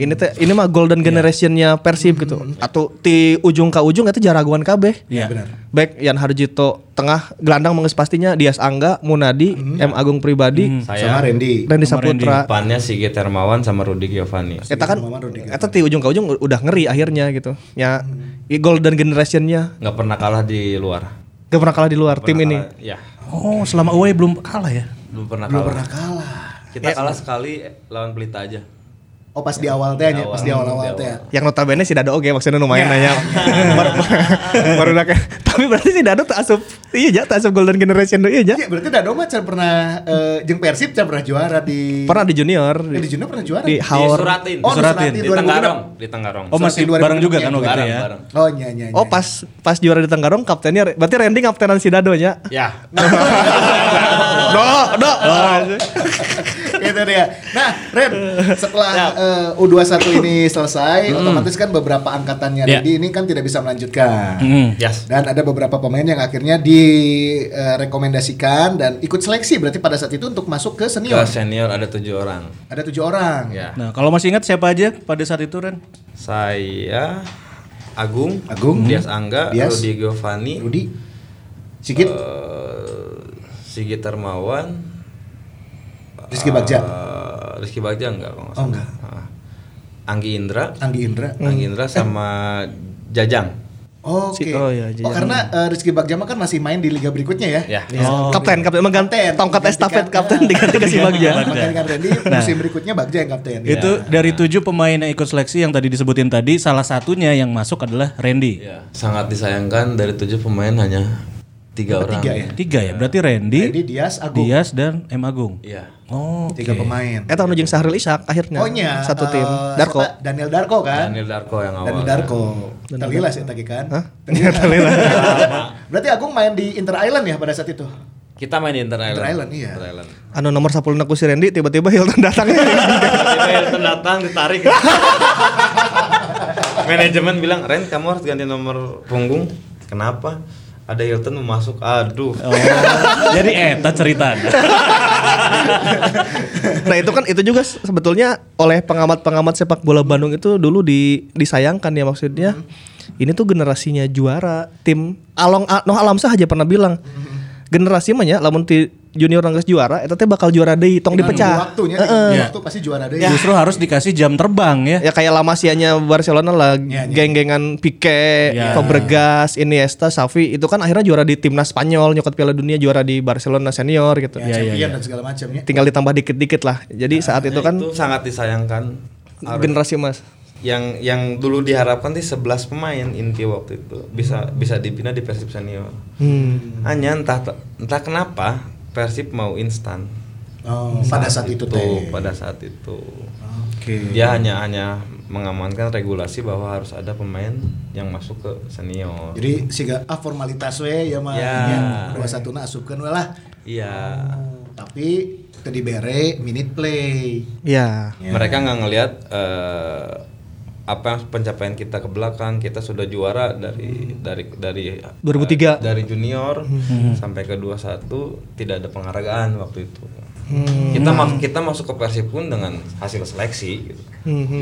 Speaker 4: 95. Ini teh ini mah golden generationnya Persib gitu. Atau ti ujung ka ujung itu jaraguan kabeh.
Speaker 2: Iya.
Speaker 3: benar.
Speaker 4: Back Yan Harjito tengah gelandang menges pastinya Dias Angga, Munadi, M Agung Pribadi,
Speaker 5: Saya
Speaker 3: Sama Randy.
Speaker 4: Randy Saputra.
Speaker 5: depannya Sigit Hermawan sama Rudi Giovanni.
Speaker 4: Eta kan eta ti ujung ka ujung udah ngeri akhirnya gitu. Ya i- golden generationnya
Speaker 5: Nggak pernah kalah di luar.
Speaker 4: gak pernah kalah di luar tim ini.
Speaker 5: Kalah- Ya,
Speaker 2: oh selama away belum kalah ya
Speaker 5: belum pernah
Speaker 3: Belum
Speaker 5: kalah.
Speaker 3: pernah kalah. Ya,
Speaker 5: Kita kalah sekali lawan Pelita aja.
Speaker 3: Oh pas di awal teh,
Speaker 5: Di
Speaker 3: pas di
Speaker 5: awal.
Speaker 3: awal-awal
Speaker 5: Di
Speaker 3: teh.
Speaker 4: Yang notabene si Dado oke maksudnya lumayan nanya. Baru- Baru nak- Tapi berarti si Dado tak asup. Iya ja, tak asup golden generation do iya ja.
Speaker 3: Iya, berarti Dado mah can pernah eh, jeung Persib can pernah juara di
Speaker 4: Pernah di junior.
Speaker 3: Eh, di Juno pernah juara.
Speaker 4: di
Speaker 5: Di
Speaker 4: Haor.
Speaker 5: Suratin.
Speaker 3: Oh, di
Speaker 2: Suratin.
Speaker 5: Di
Speaker 3: 2006.
Speaker 5: Tenggarong, di Tenggarong.
Speaker 2: oh masih
Speaker 3: Seperti
Speaker 2: bareng juga kan
Speaker 3: 2006
Speaker 2: waktu itu
Speaker 5: bareng,
Speaker 2: ya
Speaker 5: bareng.
Speaker 3: Oh, iya iya.
Speaker 4: Oh pas pas juara di Tenggarong kaptennya berarti Randy kaptenan si Dado nya.
Speaker 5: Ya.
Speaker 3: Nah.
Speaker 4: Do, do.
Speaker 3: itu dia. Nah, Ren, setelah eh, U21 ini selesai, otomatis kan beberapa angkatannya
Speaker 2: Iya.
Speaker 3: Randy ini kan tidak bisa melanjutkan.
Speaker 2: Hmm.
Speaker 5: Yes.
Speaker 3: Dan ada beberapa pemain yang akhirnya direkomendasikan dan ikut seleksi berarti pada saat itu untuk masuk ke
Speaker 5: Ke
Speaker 3: senior.
Speaker 5: senior ada tujuh orang.
Speaker 3: Ada tujuh orang.
Speaker 5: Ya.
Speaker 2: nah kalau masih ingat siapa aja pada saat itu Ren
Speaker 5: Saya Agung,
Speaker 3: Agung.
Speaker 5: Dias Angga,
Speaker 3: Dias.
Speaker 5: Rudi Giovanni,
Speaker 3: Rudi, Sigit,
Speaker 5: eh, Sigit Hermawan,
Speaker 3: Rizky Bagja,
Speaker 5: eh, Rizky Bagja enggak kalau nggak
Speaker 3: Oh,
Speaker 5: salah.
Speaker 3: enggak.
Speaker 5: Ah. Anggi Indra,
Speaker 3: Anggi Indra.
Speaker 5: Anggi Indra sama Jajang.
Speaker 3: Oke.
Speaker 4: Si- oh iya,
Speaker 3: Oh, karena eh, Rizky Bagja mah kan masih main di liga berikutnya ya.
Speaker 5: Ya.
Speaker 4: kapten, kapten mengganti
Speaker 3: Kapten,
Speaker 4: tongkat
Speaker 3: digantikan.
Speaker 4: estafet kapten diganti ke si Bagja.
Speaker 3: Makanya kan Randy musim berikutnya Bagja yang kapten. Ya.
Speaker 2: itu dari tujuh pemain yang ikut seleksi yang tadi disebutin tadi salah satunya yang masuk adalah Randy
Speaker 5: Ya. Sangat disayangkan dari tujuh pemain hanya tiga orang.
Speaker 3: tiga ya?
Speaker 2: tiga ya berarti Randy,
Speaker 3: Randy Dias Agung.
Speaker 2: Dias dan M Agung
Speaker 5: Iya.
Speaker 2: oh
Speaker 3: Tiga pemain.
Speaker 4: Eta anu jeung Sahril Ishak akhirnya.
Speaker 3: Ohnya
Speaker 4: Satu
Speaker 3: eh,
Speaker 4: tim. Darko.
Speaker 3: siapa? Daniel Darko kan.
Speaker 5: Daniel Darko yang awal.
Speaker 3: Daniel Darko. Terlilas ya tadi kan.
Speaker 4: Hah? Iya,
Speaker 3: Terlilas. Berarti Agung main di Inter Island ya pada saat itu.
Speaker 5: Kita main di Inter Island.
Speaker 3: Inter Island, iya.
Speaker 5: Inter Island.
Speaker 4: Anu nomor 10 ku si Randy tiba-tiba Hilton datang.
Speaker 5: Tiba-tiba Hilton datang ditarik. Manajemen bilang, Ren kamu harus ganti nomor punggung. Kenapa? Ada Hilton mau masuk. Aduh.
Speaker 2: Oh, jadi Eta ceritanya
Speaker 4: nah itu kan itu juga se- sebetulnya oleh pengamat-pengamat sepak bola Bandung itu dulu di disayangkan ya maksudnya ini tuh generasinya juara tim Along A- Noh Alamsah aja pernah bilang generasi mah ya lamun ti junior nangis juara itu teh bakal juara deui tong
Speaker 3: Dengan
Speaker 4: dipecah Eh, Ya.
Speaker 3: Waktunya
Speaker 4: Heeh.
Speaker 5: eh.
Speaker 3: dengan waktu pasti juara deh. Ya,
Speaker 2: justru harus dikasih jam terbang ya
Speaker 4: ya kayak Lamasianya Barcelona lah
Speaker 3: Ya, ya.
Speaker 4: geng-gengan Pique,
Speaker 2: Ya.
Speaker 5: Iya.
Speaker 4: Fabregas, Iniesta, Xavi itu kan akhirnya juara di timnas Spanyol nyokot Piala Dunia juara di Barcelona senior gitu
Speaker 5: Iya.
Speaker 3: Ya, champion dan segala macamnya.
Speaker 4: tinggal ditambah dikit-dikit lah jadi saat itu kan
Speaker 5: Nah, Itu sangat disayangkan. Harus-
Speaker 4: generasi emas
Speaker 5: yang yang dulu diharapkan sih 11 pemain inti waktu itu bisa bisa dibina di Persib senior.
Speaker 3: Hmm.
Speaker 5: Hanya entah entah kenapa Persib mau instan.
Speaker 3: Oh, pada saat itu teh.
Speaker 5: pada saat Ya. itu.
Speaker 3: Oke.
Speaker 5: Dia hanya hanya mengamankan regulasi bahwa harus ada pemain yang masuk ke senior.
Speaker 3: Jadi siga ah formalitas we ya mah
Speaker 5: Ya.
Speaker 3: dua satu na asupkeun we lah.
Speaker 5: Iya.
Speaker 3: Tapi teu dibere minute play.
Speaker 4: ya
Speaker 5: Mereka nggak ngelihat eh, apa pencapaian kita ke belakang kita sudah juara dari dari dari
Speaker 4: 2003.
Speaker 5: eh, dari junior sampai ke 21 tidak ada penghargaan waktu itu
Speaker 3: Hmm.
Speaker 5: kita mas- kita masuk ke persib pun dengan hasil seleksi gitu.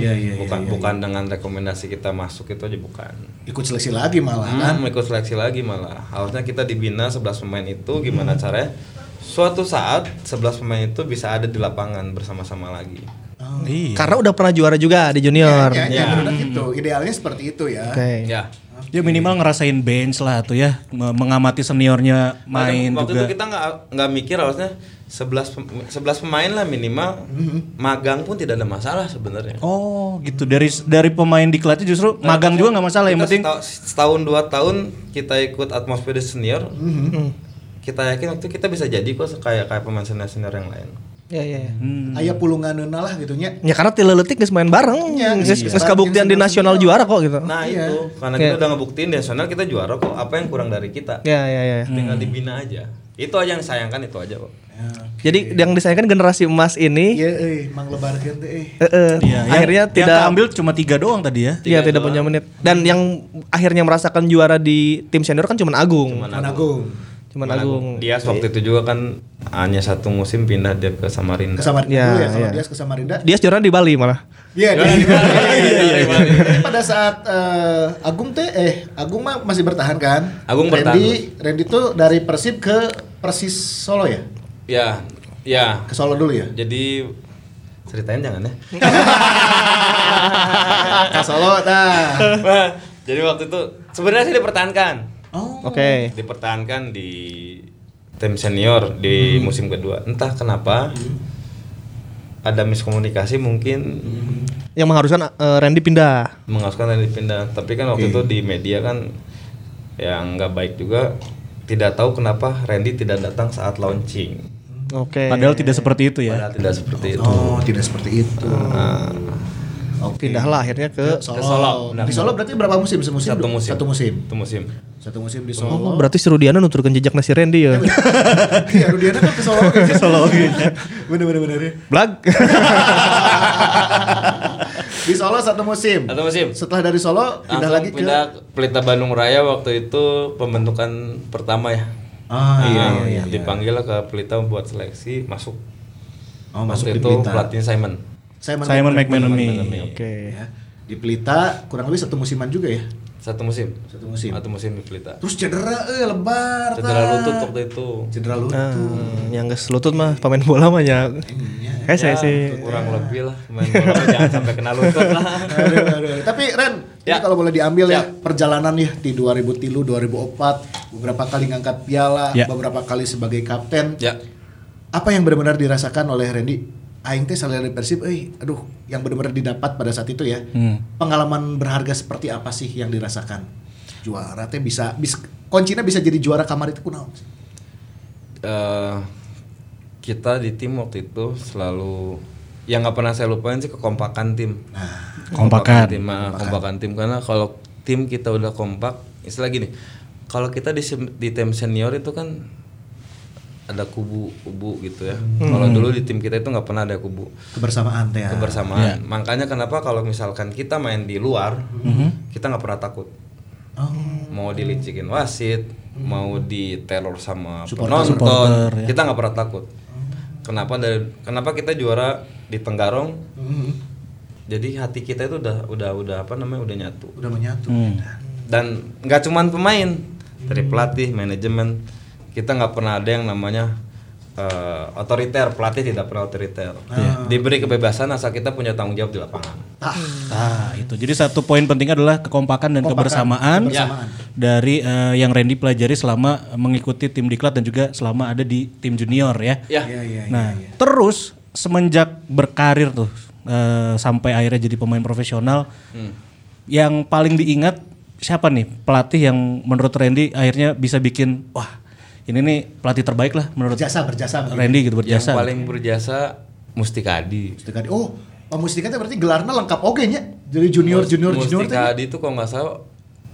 Speaker 3: Iya iya
Speaker 5: bukan bukan dengan rekomendasi kita masuk itu aja bukan
Speaker 3: Ikut seleksi lagi malah kan.
Speaker 5: Hmm, ikut seleksi lagi malah harusnya kita dibina 11 pemain itu gimana caranya suatu saat 11 pemain itu bisa ada di lapangan bersama-sama lagi
Speaker 3: Oh.
Speaker 5: Iya.
Speaker 2: Iya.
Speaker 4: Karena udah pernah juara juga di junior.
Speaker 3: Ya, ya,
Speaker 5: Ya.
Speaker 3: benar gitu. Idealnya seperti itu ya.
Speaker 4: Oke.
Speaker 5: ya
Speaker 2: Ya minimal ngerasain bench lah tuh ya, me- mengamati seniornya main
Speaker 5: waktu
Speaker 2: juga.
Speaker 5: itu kita nggak nggak mikir harusnya 11 pem- 11 pemain lah minimal magang pun tidak ada masalah sebenarnya
Speaker 2: Oh gitu dari dari pemain diklatnya justru magang juga nggak masalah yang
Speaker 5: Kita
Speaker 2: penting.
Speaker 5: setau- setahun dua tahun kita ikut atmosfer senior
Speaker 4: Hmm.
Speaker 3: Hmm.
Speaker 5: kita yakin waktu itu kita bisa jadi kok kayak kayak pemain senior senior yang lain
Speaker 4: Ya ya. ya.
Speaker 2: Hmm.
Speaker 3: Aya pulunganeunna lah gitu nya.
Speaker 4: Ya karena Tila Letik geus main bareng,
Speaker 3: Iya.
Speaker 4: geus
Speaker 3: Iya.
Speaker 4: geus kabuktian di nasional juara kok gitu.
Speaker 5: nah
Speaker 3: Iya.
Speaker 5: itu karena kita udah ngebuktiin di nasional kita juara kok apa yang kurang dari kita
Speaker 4: Ya ya ya.
Speaker 2: Hmm.
Speaker 4: ya.
Speaker 5: tinggal dibina aja itu aja yang disayangkan itu aja kok
Speaker 3: Eh?
Speaker 4: Jadi
Speaker 2: Iya.
Speaker 4: yang disayangkan generasi emas ini
Speaker 3: Iya euy, mang lebarkeun teh euy.
Speaker 4: eh, eh,
Speaker 2: Iya, yang-
Speaker 4: akhirnya
Speaker 2: yang
Speaker 4: tidak
Speaker 2: keambil cuma tiga doang tadi ya.
Speaker 4: Iya tidak punya menit. Dan yang akhirnya merasakan juara di tim senior kan cuma Agung.
Speaker 5: Cuman
Speaker 3: Agung.
Speaker 4: Cuman Agung.
Speaker 5: Dias waktu itu juga kan hanya satu musim pindah dia ke Samarinda.
Speaker 3: Ke Samarinda
Speaker 4: Ya,
Speaker 3: dulu ya, kalau
Speaker 4: ya.
Speaker 3: dia ke Samarinda.
Speaker 4: Dia sejarah di Bali malah.
Speaker 3: Iya,
Speaker 5: Iya,
Speaker 3: dia-
Speaker 5: di Bali. Iya, iya, di Bali.
Speaker 3: Tapi pada saat eh, Agung teh eh Agung mah masih bertahan kan?
Speaker 5: Agung bertahan,
Speaker 3: Randy, Randy tuh dari Persib ke Persis Solo ya?
Speaker 5: Ya, ya.
Speaker 3: Ke Solo dulu ya?
Speaker 5: Jadi ceritain jangan ya.
Speaker 3: ke Solo nah.
Speaker 5: Wah, jadi waktu itu sebenarnya sih dipertahankan.
Speaker 3: Oh.
Speaker 4: Oke.
Speaker 5: Dipertahankan di tim senior di musim kedua. Entah kenapa ada miskomunikasi mungkin
Speaker 4: Yang mengharuskan eh, Randy pindah.
Speaker 5: mengharuskan dari pindah. Tapi kan waktu itu di media kan yang nggak baik juga tidak tahu kenapa Randy tidak datang saat launching.
Speaker 4: Oke.
Speaker 2: Padahal tidak seperti itu ya.
Speaker 5: Padahal tidak seperti itu.
Speaker 3: Iya. Oh, tidak seperti itu. Oke.
Speaker 4: pindahlah akhirnya
Speaker 2: Ya,
Speaker 4: ke
Speaker 3: Solo.
Speaker 5: Ke Solo, benar.
Speaker 3: Di Solo berarti berapa musim semusim?
Speaker 5: Satu musim.
Speaker 3: Satu musim.
Speaker 5: Itu musim.
Speaker 3: Satu musim
Speaker 4: Oh,
Speaker 3: di Solo.
Speaker 4: berarti Serudiana nuturkan jejaknya si Randy ya.
Speaker 3: Iya, Rudiana kan ke Solo. Ke Solo.
Speaker 5: iya.
Speaker 3: Bener bener iya. bener.
Speaker 4: Blag.
Speaker 3: Di Solo satu musim.
Speaker 5: Satu musim.
Speaker 3: Setelah dari Solo pindah
Speaker 5: Langsung
Speaker 3: lagi ke
Speaker 5: pindah ke Pelita Bandung Raya waktu itu pembentukan pertama ya.
Speaker 3: Ah,
Speaker 5: Nah,
Speaker 3: iya, iya, iya.
Speaker 5: Dipanggil ke Pelita buat seleksi masuk.
Speaker 3: Oh, masuk
Speaker 5: Waktu
Speaker 3: di
Speaker 5: itu
Speaker 3: Pelita.
Speaker 5: pelatih Simon.
Speaker 3: Simon,
Speaker 2: Simon
Speaker 5: McManamy.
Speaker 2: McManamy.
Speaker 4: Oke.
Speaker 3: Ya. Di Pelita kurang lebih satu musiman juga ya.
Speaker 5: Satu musim.
Speaker 3: Satu musim.
Speaker 5: Satu musim di Pelita.
Speaker 3: Terus cedera eh lebar.
Speaker 5: Cedera
Speaker 3: Tah.
Speaker 5: lutut waktu itu.
Speaker 3: Cedera lutut.
Speaker 4: Nah, yang geus lutut mah pemain bola mah ya.
Speaker 2: Iya.
Speaker 4: Kayak saya
Speaker 5: Ya,
Speaker 4: sih.
Speaker 5: kurang lebih lah main bola jangan sampai kena lutut lah.
Speaker 3: Aduh, aduh, aduh. Tapi Ren, ini
Speaker 5: Ya.
Speaker 3: kalau boleh diambil ya
Speaker 5: Ya.
Speaker 3: perjalanan ya di 2000 tilu 2004 beberapa kali ngangkat piala,
Speaker 2: Ya.
Speaker 3: beberapa kali sebagai kapten.
Speaker 5: Ya.
Speaker 3: Apa yang benar-benar dirasakan oleh Randy? Aing teh salary Persib, eh, aduh, yang benar-benar didapat pada saat itu ya. Pengalaman berharga seperti apa sih yang dirasakan? Juara teh bisa, bis, kuncinya bisa jadi juara kamar itu kunaon? sih?
Speaker 5: eh, kita di tim waktu itu selalu yang nggak pernah saya lupain sih kekompakan tim.
Speaker 3: Nah,
Speaker 2: Kompakan.
Speaker 5: tim, ah, kompakan tim karena kalau tim kita udah kompak, istilah gini, kalau kita di, sem- di tim senior itu kan ada kubu-kubu gitu ya. Kalau dulu di tim kita itu nggak pernah ada kubu
Speaker 3: kebersamaan teh. ya.
Speaker 5: kebersamaan. Makanya kenapa kalau misalkan kita main di luar, kita nggak pernah takut.
Speaker 3: Mm-hmm. Oh. Mm-hmm.
Speaker 5: Mau dilicikin wasit, mau diteror sama
Speaker 3: Supporter, ya.
Speaker 5: penonton, kita nggak pernah takut. Kenapa dari kenapa kita juara di Tenggarong?
Speaker 3: Mhm.
Speaker 5: Jadi hati kita itu udah udah udah apa namanya udah nyatu.
Speaker 3: Udah menyatu.
Speaker 2: Hmm.
Speaker 5: Dan nggak cuman pemain, dari
Speaker 3: Hmm.
Speaker 5: pelatih, manajemen, kita nggak pernah ada yang namanya eh, otoriter. Pelatih tidak pernah otoriter.
Speaker 3: Ah. Iya.
Speaker 5: Diberi kebebasan asal kita punya tanggung jawab di lapangan.
Speaker 2: Ah, itu. Jadi satu poin penting adalah kekompakan dan kebersamaan, dari eh, yang Randy pelajari selama mengikuti tim diklat dan juga selama ada di tim junior ya.
Speaker 5: Ya.
Speaker 3: Iya, iya.
Speaker 2: nah, terus semenjak berkarir tuh eh, sampai akhirnya jadi pemain profesional, yang paling diingat siapa nih pelatih yang menurut Randy akhirnya bisa bikin wah ini nih pelatih terbaik lah menurut
Speaker 3: Berjasa, berjasa. mungkin.
Speaker 2: Randy gitu
Speaker 5: Yang
Speaker 2: berjasa.
Speaker 5: paling berjasa Mustika Adi.
Speaker 3: Mustika Adi. Oh, Pak Mustika teh berarti gelarnya lengkap oke nya. Jadi junior junior junior teh.
Speaker 5: Mustika Adi itu kalau nggak salah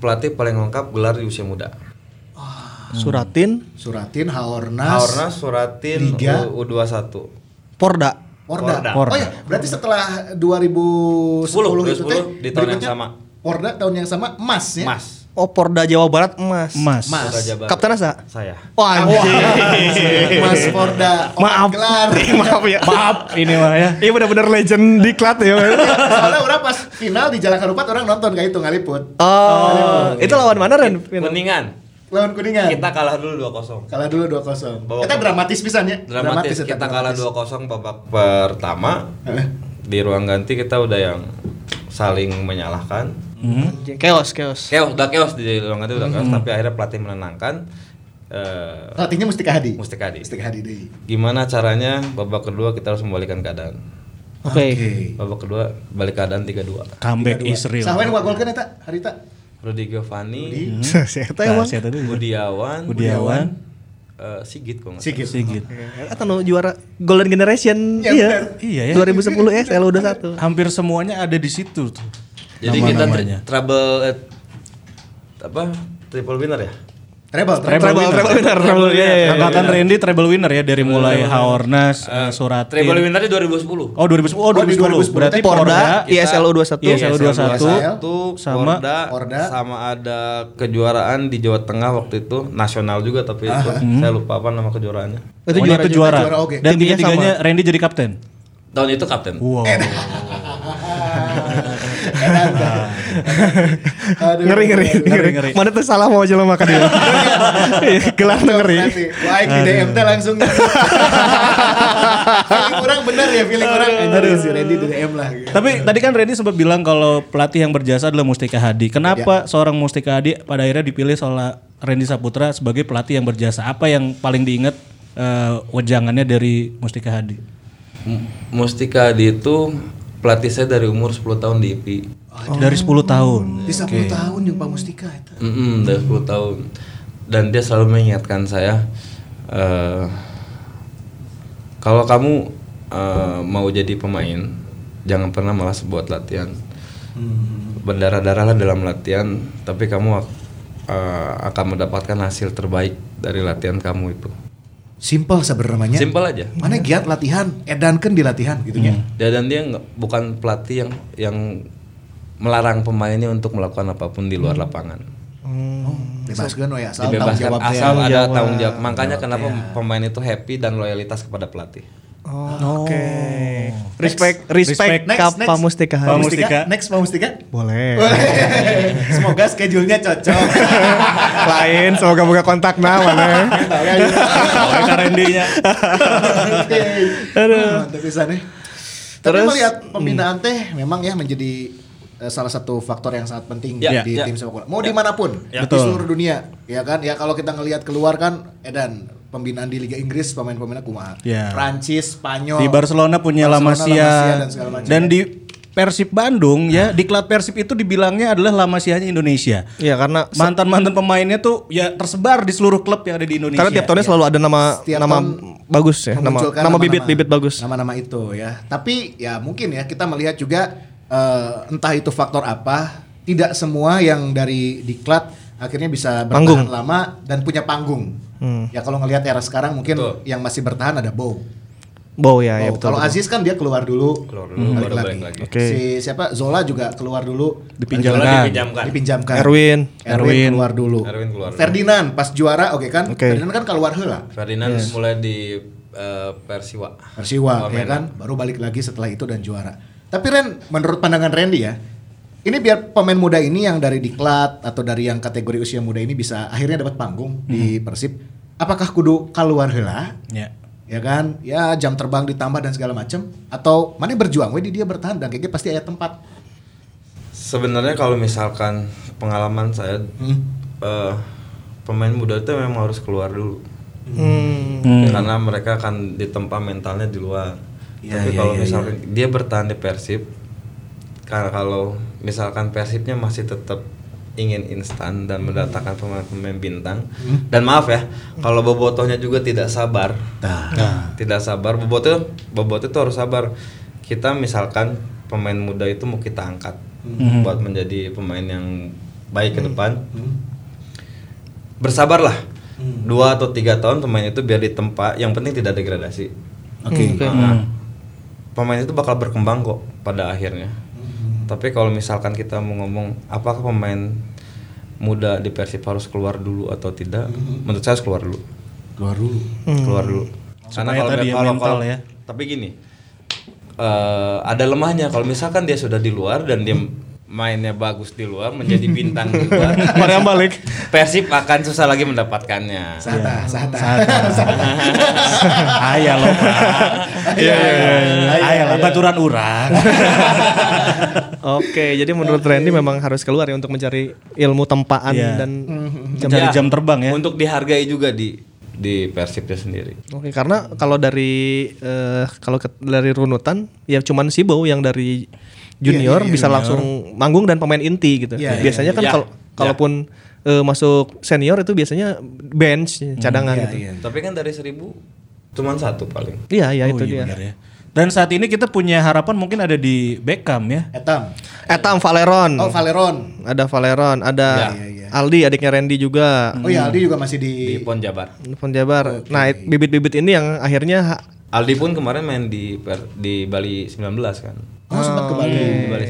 Speaker 5: pelatih paling lengkap gelar di usia muda.
Speaker 4: Suratin,
Speaker 3: Suratin, Haornas,
Speaker 5: Haorna Suratin
Speaker 3: Liga.
Speaker 5: U- U21.
Speaker 4: Porda.
Speaker 3: Porda.
Speaker 2: Porda.
Speaker 3: Oh ya, berarti setelah 2010 itu
Speaker 5: 2010,
Speaker 3: teh
Speaker 5: di tahun yang
Speaker 3: berikutnya
Speaker 5: sama.
Speaker 3: Porda tahun yang sama emas ya.
Speaker 5: Mas.
Speaker 4: Oh, Porda Jawa Barat emas.
Speaker 2: Mas.
Speaker 3: Mas.
Speaker 5: Raja Baru.
Speaker 4: Kapten Asa.
Speaker 5: Saya.
Speaker 4: Wah,
Speaker 3: Mas Porda. Opat
Speaker 4: Maaf.
Speaker 3: Gelar.
Speaker 4: Maaf ya.
Speaker 2: Maaf ini mah ya.
Speaker 4: Iya benar-benar legend diklat ya.
Speaker 3: Soalnya orang pas final di Jalan Karupat orang nonton kayak itu ngaliput.
Speaker 4: Oh, itu lawan mana Ren?
Speaker 5: Kuningan.
Speaker 3: Lawan Kuningan.
Speaker 5: Kita kalah dulu 2-0.
Speaker 3: kalah dulu 2-0.
Speaker 5: Bawa-
Speaker 3: Kita dramatis pisan ya.
Speaker 5: Dramatis,
Speaker 3: eta,
Speaker 5: kita kalah
Speaker 3: dramatis. Eh,
Speaker 5: 2-0 babak pertama.
Speaker 3: Heeh.
Speaker 5: Di ruang ganti kita udah yang saling menyalahkan.
Speaker 4: Hmm? Chaos, chaos.
Speaker 5: Keos, udah keos di ruang ganti udah keos, tapi akhirnya pelatih menenangkan eh
Speaker 3: Pelatihnya Mustika Hadi.
Speaker 5: Mustika Adi.
Speaker 3: Mustika Hadi deui.
Speaker 5: Gimana caranya babak kedua kita harus membalikan keadaan.
Speaker 4: Oke.
Speaker 5: Babak kedua balik keadaan 3-2.
Speaker 2: Comeback ya. is real.
Speaker 3: Saha we nu ngagolkeun eta? Harita.
Speaker 5: Rudi Giovanni,
Speaker 3: Rudi.
Speaker 4: Eta emang.
Speaker 2: Nah, siapa tadi?
Speaker 5: Budiawan,
Speaker 2: Budiawan. Gitu.
Speaker 5: eh, Sigit kok nggak salah.
Speaker 3: Sigit.
Speaker 2: Sigit.
Speaker 4: Eta nu juara Golden Generation.
Speaker 3: Iya, benar.
Speaker 4: Iya.
Speaker 2: Iya
Speaker 4: 2010
Speaker 2: ya.
Speaker 4: SL udah satu.
Speaker 2: Hampir semuanya ada di situ tuh.
Speaker 5: Jadi kita
Speaker 2: Nama-namanya.
Speaker 5: tr- trouble eh, apa triple winner ya?
Speaker 3: Treble, treble.
Speaker 4: Treble, treble winner, treble ya. ya, ya.
Speaker 2: Angkatan Randy treble winner ya dari mulai Haornas, eh, Suratin.
Speaker 5: Treble winner di 2010.
Speaker 2: Oh 2010, oh,
Speaker 3: di 2010.
Speaker 2: 2010. Berarti
Speaker 3: Porda,
Speaker 2: Porda,
Speaker 4: Porda, ISLO 21.
Speaker 5: iya,
Speaker 2: ISLO 21.
Speaker 5: sama
Speaker 2: sama
Speaker 3: Orda.
Speaker 5: sama ada kejuaraan di Jawa Tengah waktu itu nasional juga tapi itu saya lupa apa nama kejuaraannya.
Speaker 4: Itu
Speaker 2: Pokoknya
Speaker 4: juara
Speaker 2: itu juara.
Speaker 3: juara, oke.
Speaker 2: Dan
Speaker 4: Timnya
Speaker 2: tiga-tiganya Randy jadi kapten. Eh,
Speaker 5: Tahun itu kapten.
Speaker 2: Wow.
Speaker 3: Aduh.
Speaker 4: Ngeri ngeri
Speaker 2: Ngeri,
Speaker 4: ngeri.
Speaker 2: ngeri.
Speaker 4: Mana tuh salah mau aja lo makan ya. Iya, Gelar tuh ngeri.
Speaker 3: Nanti, Like di DM teh langsung. feeling kurang bener ya, feeling kurang. Aduh, si Randy di DM lah. gitu.
Speaker 2: Tapi tadi kan Randy sempat bilang kalau pelatih yang berjasa adalah Mustika Hadi. Kenapa seorang Mustika Hadi pada akhirnya dipilih soal Randy Saputra sebagai pelatih yang berjasa? Apa yang paling diingat eh, wejangannya dari Mustika Hadi?
Speaker 5: M- Mustika Adi itu pelatih saya dari umur 10 tahun di IPI.
Speaker 2: Dari 10 tahun.
Speaker 3: Di 10 tahun yang Pak Mustika itu.
Speaker 5: Mm-mm, dari 10 tahun. Dan dia selalu mengingatkan saya eh, kalau kamu eh, mau jadi pemain, jangan pernah malas buat latihan. Berdarah-darahlah dalam latihan, tapi kamu ak- eh, akan mendapatkan hasil terbaik dari latihan kamu itu.
Speaker 3: Simple sebenarnya.
Speaker 5: Simpel aja.
Speaker 3: Mana giat latihan, edankan di latihan gitu ya.
Speaker 5: Ya, dan dia nggak- bukan pelatih yang yang melarang pemainnya untuk melakukan apapun di luar lapangan.
Speaker 4: Hmm,
Speaker 3: Bebas kan ya, asal tanggung
Speaker 4: Ah,
Speaker 5: dibebaskan
Speaker 3: jawab
Speaker 5: asal ada tanggung jawab makanya kenapa pemain itu happy dan loyalitas kepada pelatih
Speaker 4: Oh, Oke. Respect respect
Speaker 2: Respect.
Speaker 3: Next,
Speaker 4: Kak
Speaker 3: next.
Speaker 4: Pamustika
Speaker 3: Pak
Speaker 4: hari.
Speaker 3: Mustika.
Speaker 2: Mustika.
Speaker 3: Next Pak Mustika.
Speaker 4: Boleh.
Speaker 3: Semoga schedule-nya cocok.
Speaker 4: Lain semoga buka kontak nah mana.
Speaker 3: Tahu ya.
Speaker 2: Mereka Randy-nya.
Speaker 3: Oke. Mantap pisan ya. Tapi
Speaker 4: Terus-
Speaker 3: melihat pembinaan teh memang ya menjadi eh, salah satu faktor yang sangat penting
Speaker 5: Ya,
Speaker 3: di
Speaker 5: ya.
Speaker 3: tim sepak bola. Mau dimanapun, di seluruh dunia, ya kan? Ya kalau kita ngelihat keluar kan, Edan pembinaan di Liga Inggris pemain-pemainnya kumaha?
Speaker 2: Ya.
Speaker 3: Prancis, Spanyol.
Speaker 2: Di Barcelona punya La
Speaker 3: Oh. Barcelona,
Speaker 2: Masia
Speaker 3: La Masia, dan segala macam.
Speaker 2: dan di Persib Bandung ya, diklat Persib itu dibilangnya adalah La Masia-nya Indonesia.
Speaker 4: Iya karena
Speaker 2: Mantan-mantan pemainnya tuh ya tersebar di seluruh klub yang ada di Indonesia.
Speaker 4: karena tiap tahunnya selalu ada nama
Speaker 3: Setiap
Speaker 4: nama
Speaker 3: tahun
Speaker 4: bagus ya, nama
Speaker 3: memunculkan
Speaker 4: nama
Speaker 3: nama-nama-
Speaker 4: bibit-bibit bagus.
Speaker 3: Nama-nama itu ya. Tapi ya mungkin ya kita melihat juga eh, entah itu faktor apa, tidak semua yang dari diklat akhirnya bisa bertahan
Speaker 4: Panggung. Hmm.
Speaker 3: lama dan punya panggung. Ya kalau ngelihat era sekarang mungkin yang masih bertahan ada Bow.
Speaker 4: Bow ya, ya
Speaker 3: Bow.
Speaker 4: betul.
Speaker 3: Kalau Aziz kan dia keluar dulu,
Speaker 5: Keluar
Speaker 3: balik
Speaker 5: dulu, baru
Speaker 3: lagi.
Speaker 5: balik lagi.
Speaker 4: Oke.
Speaker 3: Si siapa Zola juga keluar dulu,
Speaker 5: Kalau
Speaker 2: dipinjamkan.
Speaker 5: dipinjamkan
Speaker 3: dipinjamkan.
Speaker 4: Erwin.
Speaker 3: Erwin keluar dulu.
Speaker 5: Erwin keluar dulu.
Speaker 3: Ferdinand pas juara, oke kan?
Speaker 4: Oke.
Speaker 3: Ferdinand kan keluar heula.
Speaker 5: Ferdinand mulai di eh, Persiwa
Speaker 3: Persiwa ya
Speaker 5: Wamena.
Speaker 3: kan baru balik lagi setelah itu dan juara. Tapi Ren menurut pandangan Randy ya ini biar pemain muda ini yang dari diklat atau dari yang kategori usia muda ini bisa akhirnya dapat panggung di Persib. Apakah kudu keluar heula?
Speaker 2: Ya.
Speaker 3: Ya kan? Ya jam terbang ditambah dan segala macam atau mana berjuang we di dia bertahan dan kayaknya pasti ada tempat.
Speaker 5: sebenarnya kalau misalkan pengalaman saya eh, pemain muda itu memang harus keluar dulu
Speaker 4: Hmm.
Speaker 5: karena mereka akan ditempa mentalnya di luar. Tapi kalau misalkan dia bertahan di Persib, karena kalau misalkan Persibnya masih tetap ingin instan dan mendatangkan pemain-pemain bintang, dan maaf ya, kalau bobotohnya juga tidak sabar, Nah. tidak sabar, bobotoh bobotoh itu harus sabar. Kita misalkan pemain muda itu mau kita angkat buat menjadi pemain yang baik ke depan bersabarlah dua atau tiga tahun pemain itu biar ditempa yang penting tidak degradasi
Speaker 3: Oke.
Speaker 4: Hmm.
Speaker 2: Hmm.
Speaker 5: Nah, pemain itu bakal berkembang kok pada akhirnya tapi kalau misalkan kita mau ngomong apakah pemain muda di Persib harus keluar dulu atau tidak menurut saya harus keluar dulu
Speaker 3: Keluar dulu.
Speaker 5: keluar dulu karena
Speaker 2: Hmm. Supaya
Speaker 5: kalau
Speaker 2: tadi ya
Speaker 5: kalau-
Speaker 2: mental
Speaker 5: kalau-
Speaker 2: ya.
Speaker 5: tapi gini eh, ada lemahnya kalau misalkan dia sudah di luar dan dia mainnya bagus di luar menjadi bintang di luar
Speaker 4: Mari yang balik.
Speaker 5: Persib akan susah lagi mendapatkannya
Speaker 3: Sahata, sahata.
Speaker 2: Ayah loh. Iya iya iya. Ayah lah baturan urang.
Speaker 4: Oke, jadi menurut Randy memang harus keluar ya untuk mencari ilmu tempaan
Speaker 2: Iya.
Speaker 4: dan jam
Speaker 2: Mencari jam terbang ya.
Speaker 5: untuk dihargai juga di di Persibnya sendiri
Speaker 3: Mm-hmm.
Speaker 4: Oke, karena kalau dari eh, kalau ke- dari runutan ya cuman Sibo yang dari junior bisa langsung manggung dan pemain inti gitu.
Speaker 3: Iya,
Speaker 4: biasanya kan
Speaker 5: iya.
Speaker 4: kalau kalaupun eh, masuk senior itu biasanya bench cadangan gitu.
Speaker 5: tapi kan dari seribu cuman satu paling
Speaker 4: Iya, iya itu dia.
Speaker 2: Benar ya. Dan saat ini kita punya harapan mungkin ada di Beckham ya.
Speaker 3: Etam.
Speaker 4: Etam Valeron.
Speaker 3: Oh Valeron.
Speaker 4: Ada Valeron, ada Aldi adiknya Randy juga.
Speaker 3: Oh ya Aldi juga masih di.
Speaker 5: di Pon Jabar.
Speaker 4: Pon Jabar. Nah, it- bibit-bibit ini yang akhirnya ha-
Speaker 5: Aldi pun kemarin main di per- di Bali 19 kan.
Speaker 2: Hmm.
Speaker 3: Oh sempat ke Bali.
Speaker 5: Di Bali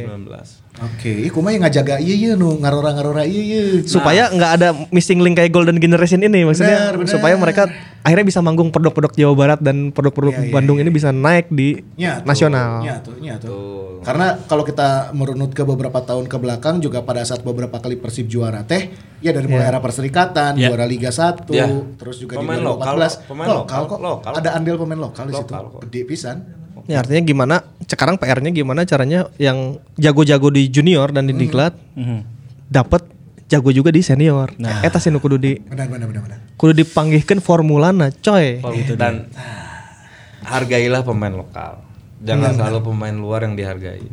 Speaker 5: 19.
Speaker 3: Oke, iya kumaha yang ngajaga iya iya nu ngarora ngarora iya iya.
Speaker 4: supaya nggak ada missing link kayak Golden Generation ini maksudnya
Speaker 3: Benar, benar.
Speaker 4: supaya mereka akhirnya bisa manggung produk-produk Jawa Barat dan produk-produk
Speaker 3: Iya,
Speaker 4: Bandung ini bisa naik di
Speaker 3: Nya Iya, tuh,
Speaker 4: nasional.
Speaker 3: Nya tuh, nya tuh. Karena kalau kita merunut ke beberapa tahun ke belakang juga pada saat beberapa kali Persib juara teh, ya dari
Speaker 4: Iya.
Speaker 3: mulai era Perserikatan, juara Liga 1,
Speaker 5: Ya.
Speaker 3: terus juga
Speaker 5: Iya. Pemain
Speaker 3: di 2014.
Speaker 5: lokal, pemain lokal,
Speaker 3: kok.
Speaker 5: lokal.
Speaker 3: Ada andil pemain lokal di situ.
Speaker 5: Lokal kok.
Speaker 3: Gede pisan.
Speaker 4: Ya artinya gimana sekarang PR-nya gimana caranya yang jago-jago di junior dan di
Speaker 3: Hmm.
Speaker 4: diklat
Speaker 2: Hmm.
Speaker 4: dapat jago juga di senior. Nah, eta sih nu kudu di
Speaker 3: Benar benar benar benar.
Speaker 4: kudu dipanggihkeun formulana coy.
Speaker 5: Dan hargailah pemain lokal.
Speaker 3: Iya,
Speaker 5: Jangan selalu pemain luar yang dihargai.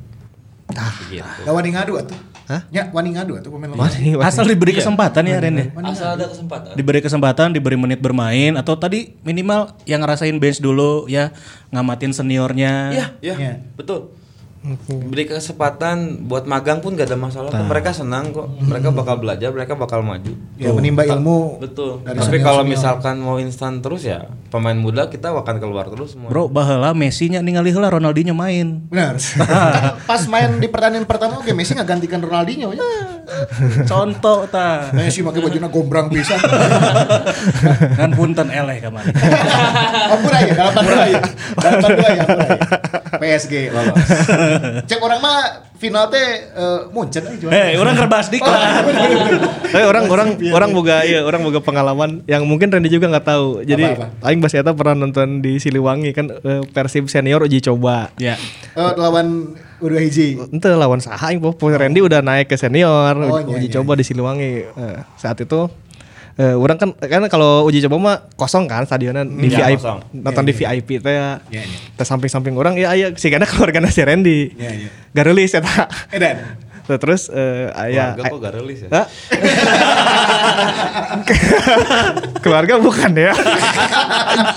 Speaker 5: Begitu.
Speaker 3: Da wani ngadu atuh.
Speaker 4: Hah?
Speaker 3: Nya wani ngadu atuh pemain lokal.
Speaker 4: Mana ini, Mas?
Speaker 2: Asal diberi kesempatan ya Ren ya.
Speaker 5: Asal ada kesempatan.
Speaker 2: Diberi kesempatan, diberi menit bermain atau tadi minimal yang ngerasain bench dulu ya, ngamatin seniornya.
Speaker 5: Iya, iya.
Speaker 3: Iya.
Speaker 5: Betul. Beri kesempatan buat magang pun gak ada masalah. kok. Mereka senang kok.
Speaker 3: Hmm.
Speaker 5: Mereka bakal belajar, mereka bakal maju.
Speaker 3: Ya menimba ilmu.
Speaker 5: Betul.
Speaker 3: Dari
Speaker 5: Tapi kalau misalkan mau instan terus ya pemain muda kita akan keluar terus semua.
Speaker 2: Bro, baheula Messi-nya ningali heula Ronaldinho main.
Speaker 3: Benar. Pas main di pertandingan pertama oke Messi gantikan Ronaldinho ya.
Speaker 2: Contoh ta.
Speaker 3: Messi pakai bajunya gombrang pisan.
Speaker 2: kan punten eleh kemarin.
Speaker 3: Ampun aja, dalam dua ya. Dalam dua ya, ampun aja. PSG lolos. Cek orang mah final teh eh, Munchen aja juara.
Speaker 2: Hei, orang kerbas dik lah.
Speaker 3: Oh.
Speaker 4: Eh, orang orang orang boga iya, orang boga pengalaman yang mungkin Randy juga nggak tahu. Jadi
Speaker 3: Apa-apa?
Speaker 4: aing Bas Eta pernah nonton di Siliwangi kan eh, Persib senior uji coba.
Speaker 2: Ya.
Speaker 3: Eh, lawan udah hiji.
Speaker 4: Ente lawan saha yang Randy udah naik ke senior
Speaker 3: Oh,
Speaker 4: uji,
Speaker 3: iya,
Speaker 4: uji
Speaker 3: iya,
Speaker 4: coba di Siliwangi. Eh, saat itu eh, orang kan kan kalau uji coba mah kosong kan stadionnya di
Speaker 5: Iya,
Speaker 4: VIP
Speaker 5: kosong.
Speaker 4: nonton di VIP teh ya.
Speaker 3: Iya, iya.
Speaker 4: Teh samping-samping orang ya aya si kana keluarga si Randy. ya,
Speaker 3: Iya, iya. Eh,
Speaker 4: Garelis eta.
Speaker 3: Edan.
Speaker 4: Terus eh aya
Speaker 5: Keluarga kok gak rilis ya?
Speaker 4: Hah? keluarga bukan ya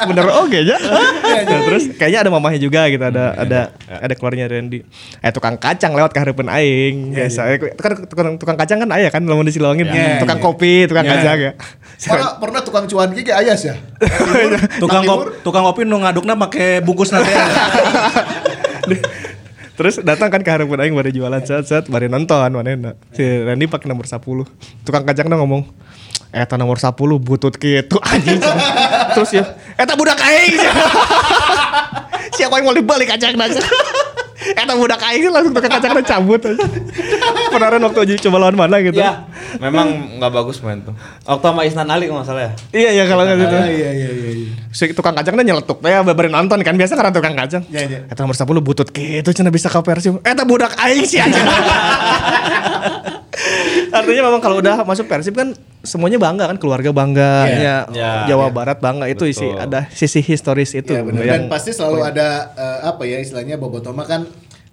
Speaker 4: bener oke aja
Speaker 3: Iya,
Speaker 4: Nah, terus kayaknya ada mamahnya juga gitu
Speaker 5: Hmm,
Speaker 4: ada
Speaker 5: iya,
Speaker 4: ada ada keluarnya Randy eh tukang kacang lewat keharepan aing biasa Eh, kan tukang, tukang kacang kan ayah kan lamun di Silawangin
Speaker 3: Iya,
Speaker 4: tukang
Speaker 3: iya.
Speaker 4: kopi tukang kacang ya
Speaker 3: Pernah pernah tukang cuan gigi ayas ya.
Speaker 2: Tukang kopi, tukang kopi nu ngadukna make bungkus nanti.
Speaker 4: terus datang kan keharepan aing bari jualan set set bari nonton manehna si Randy pakai nomor 10 tukang kacangnya ngomong Eta nomor 10 butut gitu anjing Terus ya Eta budak aing siapa yang mau dibalik kacang aja Eta budak aing langsung tukang kacangnya cabut aja Penaran waktu uji coba lawan mana gitu
Speaker 5: Ya, memang nggak bagus main tuh. Waktu sama Isnan Ali kalau nggak salah ya.
Speaker 4: Iya iya kalau nggak gitu
Speaker 3: Ah, iya iya iya iya.
Speaker 4: Si tukang kacangnya nyeletuk ya babarin nonton kan biasa karena tukang kacang
Speaker 3: Iya, iya.
Speaker 4: Eta nomor 10 butut gitu cina bisa ke Persib Eta budak aing sih aja Artinya memang kalau udah masuk Persib kan semuanya bangga kan keluarga bangga
Speaker 3: Iya.
Speaker 4: ya,
Speaker 5: Iya,
Speaker 4: Jawa
Speaker 5: iya.
Speaker 4: Barat bangga itu isi
Speaker 5: Betul.
Speaker 4: ada sisi historis itu
Speaker 3: Iya benar. Dan
Speaker 4: yang
Speaker 3: pasti selalu ada eh, apa ya istilahnya Bobotoma kan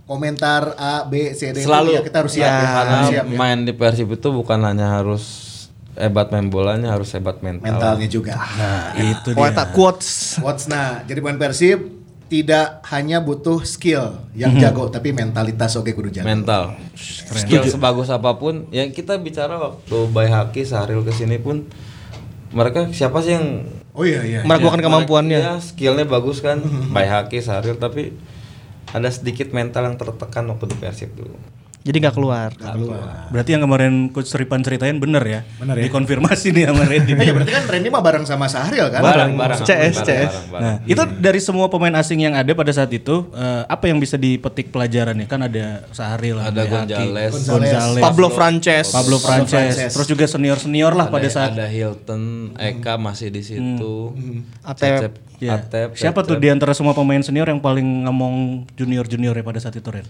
Speaker 3: komentar A B C D itu
Speaker 5: Selalu
Speaker 3: ya kita harus siap ya,
Speaker 5: karena
Speaker 3: harus siap ya.
Speaker 5: main di Persib itu bukan hanya harus hebat main bolanya, harus hebat mental.
Speaker 3: mentalnya juga.
Speaker 2: Nah, itu
Speaker 4: Oh, eta quotes
Speaker 3: What's nah? Jadi pemain Persib tidak hanya butuh skill yang
Speaker 4: Mhm.
Speaker 3: jago, tapi mentalitas oke kudu jago.
Speaker 5: Mental. Skill sebagus apapun, yang kita bicara waktu Bay Haki Sahril kesini pun mereka siapa sih yang
Speaker 3: oh iya iya.
Speaker 4: meragukan
Speaker 5: Ya,
Speaker 4: kemampuannya
Speaker 5: mereka- ya, skillnya bagus kan, Bay Haki Sahril tapi ada sedikit mental yang tertekan waktu di Persib dulu.
Speaker 4: jadi nggak keluar
Speaker 2: Berarti yang kemarin Coach Ripan ceritain bener ya?
Speaker 3: Bener ya.
Speaker 2: Dikonfirmasi nih sama Nah, Randy.
Speaker 3: Eh, ya berarti kan Randy mah bareng sama Sahril kan?
Speaker 5: barang,
Speaker 4: CS,
Speaker 5: barang,
Speaker 4: CS.
Speaker 5: barang, barang.
Speaker 2: Nah, itu dari semua pemain asing yang ada pada saat itu, eh, apa yang bisa dipetik pelajarannya? Kan ada Sahril,
Speaker 5: Ada
Speaker 2: Haki,
Speaker 5: Gonzales,
Speaker 3: Gonzales.
Speaker 2: Gonzales,
Speaker 4: Pablo Frances
Speaker 2: Pablo Frances,
Speaker 3: Frances.
Speaker 2: terus juga senior-senior lah pada
Speaker 5: ada, ya,
Speaker 2: saat
Speaker 5: ada Hilton, Eka masih di
Speaker 3: Hmm.
Speaker 5: situ.
Speaker 4: Atep.
Speaker 5: Atep.
Speaker 3: Iya.
Speaker 2: Ya.
Speaker 5: Atep.
Speaker 2: Siapa tuh di antara semua pemain senior yang paling ngomong junior-junior ya pada saat itu, Ren?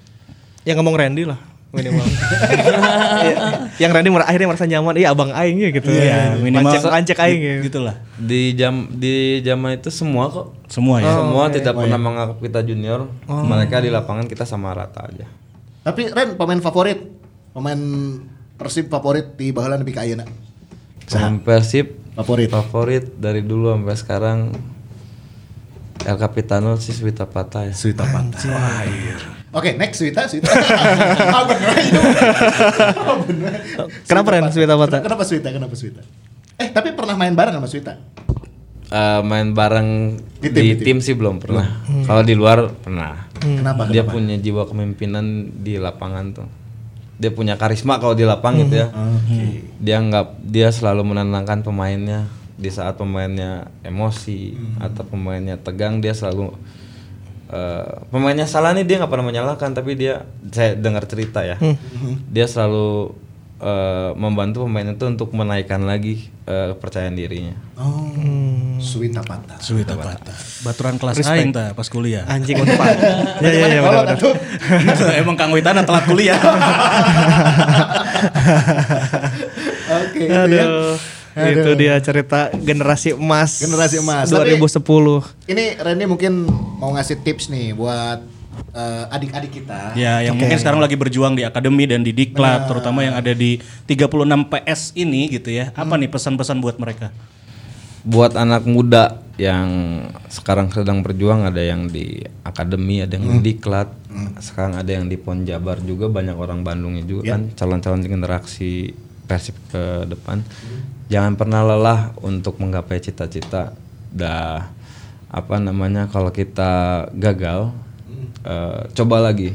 Speaker 4: yang ngomong Randy lah minimal Iya. yang Randy mer- akhirnya merasa nyaman iya abang aing ya gitu
Speaker 2: Iya,
Speaker 4: Lancek- lancek aing ya.
Speaker 2: Gitu- Gitulah.
Speaker 5: Di jam di zaman itu semua kok.
Speaker 3: Oh,
Speaker 2: Semua
Speaker 3: iya.
Speaker 2: ya.
Speaker 5: semua tidak pernah menganggap kita junior. Mereka di lapangan kita sama rata aja.
Speaker 3: Tapi Ren pemain favorit, pemain Persib favorit di Baheula nepi ka ayeuna.
Speaker 5: Pemain Persib
Speaker 3: Favorit.
Speaker 4: Oh.
Speaker 5: favorit dari dulu sampai sekarang El Capitano si Swita Patah ya.
Speaker 3: Suita Panta. Wah, iya. Oke, next Suita, Suita. ah, bener itu. Ah, bener.
Speaker 4: Kenapa, Ren, Suita Panta?
Speaker 3: Kenapa Suita? Kenapa Suita? Eh, tapi pernah main bareng sama Suita?
Speaker 5: Eh, main bareng
Speaker 3: Di tim,
Speaker 5: di tim,
Speaker 3: di tim.
Speaker 5: sih belum pernah. Kalau di luar pernah.
Speaker 4: Hmm.
Speaker 3: Kenapa?
Speaker 5: Dia
Speaker 3: kenapa?
Speaker 5: punya jiwa kepemimpinan di lapangan tuh. Dia punya karisma kalau di lapang gitu ya.
Speaker 3: Oh,
Speaker 5: Dia nggak dia selalu menenangkan pemainnya di saat pemainnya emosi
Speaker 3: Hmm.
Speaker 5: atau pemainnya tegang dia selalu eh, pemainnya salah nih dia nggak pernah menyalahkan tapi dia saya dengar cerita ya dia selalu eh, membantu pemain itu untuk menaikkan lagi eh, kepercayaan dirinya
Speaker 3: Oh,
Speaker 4: Hmm.
Speaker 3: Suita Panta.
Speaker 2: Suwita patah. Baturan kelas aing tah pas kuliah.
Speaker 4: Anjing unpad. Ya ya ya.
Speaker 3: Kalau
Speaker 4: benar, benar.
Speaker 3: tuh
Speaker 2: Emang Kang Witana telat kuliah.
Speaker 3: Oke, itu ya.
Speaker 4: Aduh. Itu dia cerita generasi emas.
Speaker 3: Generasi emas.
Speaker 4: 2010.
Speaker 3: Ini Randy mungkin mau ngasih tips nih buat eh, adik-adik kita.
Speaker 2: Ya, yang mungkin sekarang lagi berjuang di akademi dan di diklat, terutama yang ada di 36 PS ini gitu ya.
Speaker 5: Hmm.
Speaker 2: Apa nih pesan-pesan buat mereka?
Speaker 5: buat anak muda yang sekarang sedang berjuang ada yang di akademi ada yang di diklat sekarang ada yang di pon jabar juga banyak orang bandungnya juga kan calon-calon generasi persib ke depan jangan pernah lelah untuk menggapai cita-cita dah apa namanya kalau kita gagal eh, coba lagi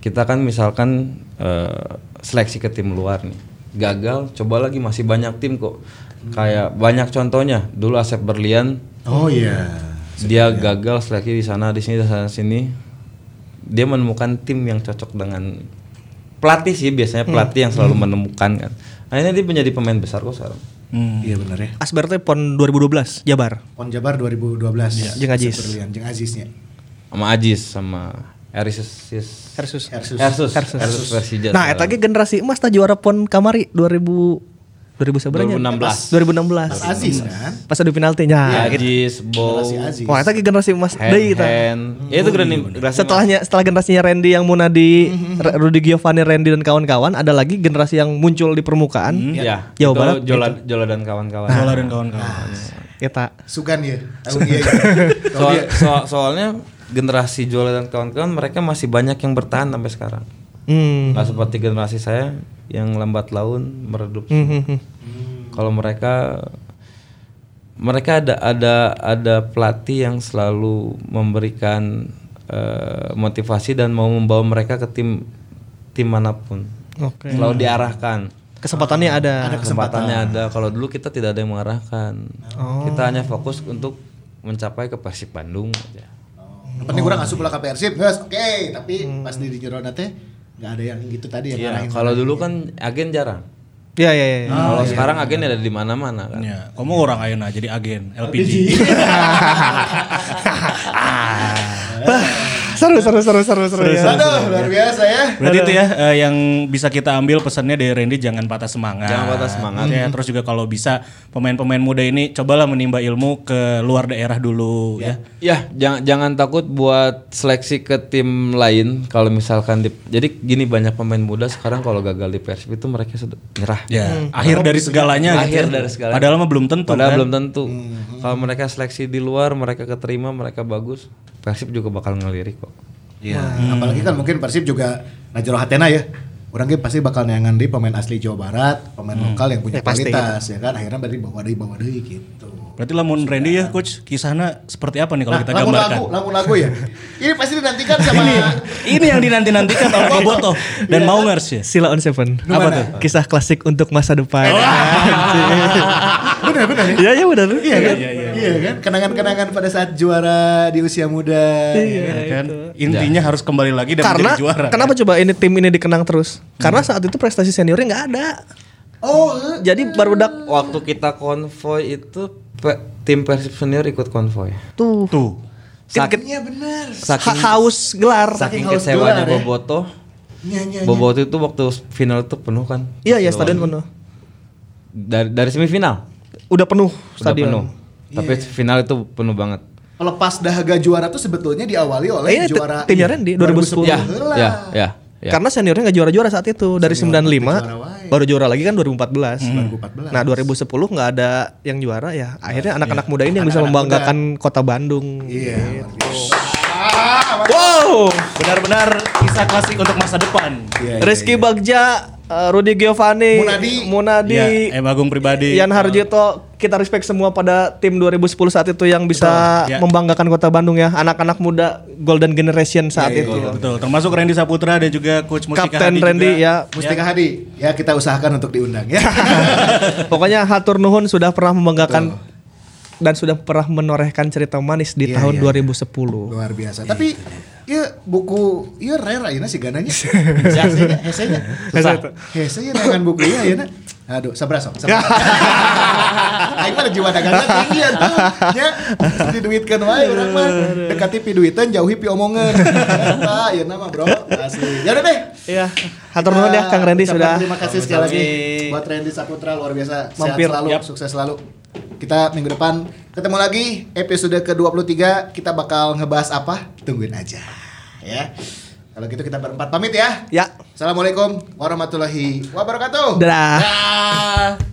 Speaker 5: kita kan misalkan eh, seleksi ke tim luar nih gagal coba lagi masih banyak tim kok kayak banyak contohnya dulu Asep Berlian
Speaker 3: Oh iya.
Speaker 5: dia gagal seleksi di sana di sini di sana di sini dia menemukan tim yang cocok dengan pelatih sih biasanya pelatih yang selalu menemukan kan akhirnya dia menjadi pemain besar kok sekarang Hmm.
Speaker 3: Iya benar ya.
Speaker 4: Asbar teh pon 2012 Jabar.
Speaker 3: Pon Jabar 2012.
Speaker 4: Jeng Aziz.
Speaker 3: Berlian, Jeng Aziznya.
Speaker 5: sama Ajis sama Erisis
Speaker 4: Versus.
Speaker 3: Ersus.
Speaker 5: Ersus Ersus Persija
Speaker 4: Nah, eta ge generasi emas tah juara pon kamari 2000 2000 sabaranya?
Speaker 5: 2016.
Speaker 4: 2016.
Speaker 3: Mas Aziz kan?
Speaker 4: Pas adu penalti
Speaker 5: Iya,
Speaker 4: nya. Gitu.
Speaker 5: Ajis Bow
Speaker 3: Generasi Aziz.
Speaker 4: Wah, eta ge generasi emas deui
Speaker 5: Hen
Speaker 4: tah.
Speaker 5: Hen ya itu generasi- generasi
Speaker 4: Setelahnya setelah generasinya Randy yang Munadi,
Speaker 3: Mhm.
Speaker 4: Ra- Rudy Giovanni, Randy dan kawan-kawan, ada lagi generasi yang muncul di permukaan.
Speaker 5: Ya,
Speaker 4: Iya. Jawa
Speaker 5: itu
Speaker 4: Barat gitu. Nah.
Speaker 5: Jola, Jola dan kawan-kawan.
Speaker 2: Sola dan kawan-kawan.
Speaker 5: Ah,
Speaker 3: Mhm.
Speaker 4: Kita
Speaker 3: Sugan ya. Oh, iya, iya. Kalau
Speaker 5: Soal-
Speaker 3: dia-
Speaker 5: soal- soalnya generasi Jola dan kawan-kawan mereka masih banyak yang bertahan sampai sekarang.
Speaker 4: hmm.
Speaker 5: Nggak seperti generasi saya yang lambat laun meredup. Kalau mereka mereka ada ada ada pelatih yang selalu memberikan eh, motivasi dan mau membawa mereka ke tim tim manapun.
Speaker 4: Oke.
Speaker 5: Selalu diarahkan.
Speaker 4: Kesempatannya ada.
Speaker 5: kesempatannya ada kalau dulu kita tidak ada yang mengarahkan
Speaker 2: Oh.
Speaker 5: kita hanya fokus untuk mencapai ke Persib Bandung aja.
Speaker 3: Yang penting Oh. kurang asup lah ke Persib, guys. Oke, tapi pas di Jerona teh nggak ada yang gitu tadi yang
Speaker 5: Iya,
Speaker 3: ngarahin.
Speaker 5: kalau
Speaker 2: ya?
Speaker 5: dulu kan agen jarang
Speaker 4: Ya ya ya.
Speaker 2: Oh,
Speaker 5: kalau
Speaker 2: iya.
Speaker 5: sekarang agen ada di mana-mana kan
Speaker 2: Ya, kamu orang ayeuna jadi agen LPG.
Speaker 4: Seru seru seru seru seru. ya.
Speaker 3: Aduh, luar biasa ya.
Speaker 2: Berarti itu ya eh, yang bisa kita ambil pesannya dari Randy jangan patah semangat.
Speaker 5: Jangan patah semangat. Hmm.
Speaker 2: Ya, terus juga kalau bisa pemain-pemain muda ini cobalah menimba ilmu ke luar daerah dulu ya.
Speaker 5: Ya, jangan jangan takut buat seleksi ke tim lain kalau misalkan di, jadi gini banyak pemain muda sekarang kalau gagal di Persib itu mereka sudah nyerah.
Speaker 2: Ya, akhir dari segalanya gitu.
Speaker 5: Hmm. Akhir
Speaker 2: ya.
Speaker 5: dari segalanya.
Speaker 2: Padahal mah belum tentu
Speaker 5: Padahal
Speaker 2: kan.
Speaker 5: belum tentu. Kalau mereka seleksi di luar, mereka keterima, mereka bagus, Persib juga bakal ngelirik kok.
Speaker 3: Iya. Apalagi kan mungkin Persib juga Najero Hatena ya. Orang ge pasti bakal neangan di pemain asli Jawa Barat, pemain lokal yang punya
Speaker 4: Ya, pasti,
Speaker 3: kualitas ya kan. Akhirnya berarti bawa deui bawa deui gitu.
Speaker 2: Berarti lamun Randy ya coach, kisahnya seperti apa nih kalau kita
Speaker 3: lagu
Speaker 2: gambarkan?
Speaker 3: lagu, lagu lagu ya. Ini pasti dinantikan sama
Speaker 2: Ini yang dinanti-nantikan sama Boboto dan Maungers ya.
Speaker 4: Sila on Seven.
Speaker 3: Apa tuh?
Speaker 4: Kisah klasik untuk masa depan.
Speaker 3: benar benar ya.
Speaker 4: Iya ya benar.
Speaker 3: Iya kan? Iya kan? Kenangan-kenangan pada saat juara di usia muda.
Speaker 2: Ya kan? Intinya harus kembali lagi dan
Speaker 4: Karena
Speaker 2: menjadi juara. kan?
Speaker 4: kenapa coba ini tim ini dikenang terus? Karena saat itu prestasi seniornya nggak ada.
Speaker 3: Oh, eh.
Speaker 4: Jadi baru dak
Speaker 5: Waktu kita konvoy itu pe- tim Persib senior ikut konvoy.
Speaker 4: tuh
Speaker 2: Tuh.
Speaker 5: Sakit
Speaker 3: Iya benar.
Speaker 5: saking
Speaker 4: Kan ha- haus gelar.
Speaker 5: saking
Speaker 3: haus gelar ya.
Speaker 5: kecewanya Boboto.
Speaker 3: Iya, iya.
Speaker 5: Boboto itu waktu final tuh penuh kan?
Speaker 4: Iya iya stadion penuh.
Speaker 5: Dari dari semifinal
Speaker 4: Udah penuh
Speaker 5: udah
Speaker 4: stadion. Iya.
Speaker 5: penuh. Tapi final itu penuh banget.
Speaker 3: Lepas dahaga juara tuh sebetulnya diawali oleh
Speaker 4: Eh, ini ti-
Speaker 3: juara
Speaker 4: timnya Randy, 2010.
Speaker 5: Ya,
Speaker 3: Heula.
Speaker 5: ya, ya.
Speaker 4: Karena seniornya nggak juara-juara saat itu dari 95 baru juara lagi kan 2014.
Speaker 3: 2014.
Speaker 4: Nah 2010 nggak ada yang juara ya. Akhirnya anak-anak muda ini yang bisa membanggakan kota Bandung.
Speaker 3: Iya.
Speaker 4: Wow.
Speaker 2: Iya, Benar-benar kisah klasik untuk masa depan.
Speaker 3: Iya, iya,
Speaker 4: Rizky Bagja, eh, Rudy Giovanni,
Speaker 3: Munadi.
Speaker 4: Munadi,
Speaker 2: Ya, M Agung pribadi.
Speaker 4: Yan Harjito, kita respect semua pada tim 2010 saat itu yang bisa
Speaker 2: Betul, ya.
Speaker 4: membanggakan kota Bandung ya, anak-anak muda golden generation
Speaker 2: Iya,
Speaker 4: saat itu.
Speaker 2: Betul, termasuk Randy Saputra dan juga coach Mustika
Speaker 4: Kapten
Speaker 2: Hadi
Speaker 4: Randy
Speaker 2: juga.
Speaker 4: ya.
Speaker 3: Mustika Hadi, ya kita usahakan untuk diundang ya.
Speaker 4: Pokoknya Hatur Nuhun sudah pernah membanggakan dan sudah pernah menorehkan cerita manis di
Speaker 3: Iya,
Speaker 4: tahun
Speaker 3: iya.
Speaker 4: 2010.
Speaker 3: Luar biasa. Tapi ya buku ya rare ayeuna sih gananya. Hesenya, hesenya.
Speaker 4: Hese
Speaker 3: Susah.
Speaker 4: itu.
Speaker 3: Hesenya dengan buku ya ayeuna. Aduh, sabra sok. sabra. Aing mah jiwa dagangan tinggi atuh. Ya, diduitkeun wae urang mah. Dekati pi duitan, jauhi pi omongan. Nah, ayeuna mah bro, asli. Ya udah deh.
Speaker 4: Iya, Hatur Nuhun ya Kang Randy
Speaker 3: Ucapan
Speaker 4: sudah
Speaker 3: Terima kasih sekali lagi buat Randy Saputra luar biasa.
Speaker 4: Mampir.
Speaker 3: Sehat selalu,
Speaker 4: Yap.
Speaker 3: sukses selalu. Kita minggu depan ketemu lagi episode ke-23 kita bakal ngebahas apa? Tungguin aja. Ya. Kalau gitu kita berempat pamit ya.
Speaker 4: ya.
Speaker 3: Assalamualaikum warahmatullahi wabarakatuh.
Speaker 4: Dah.
Speaker 3: Dah.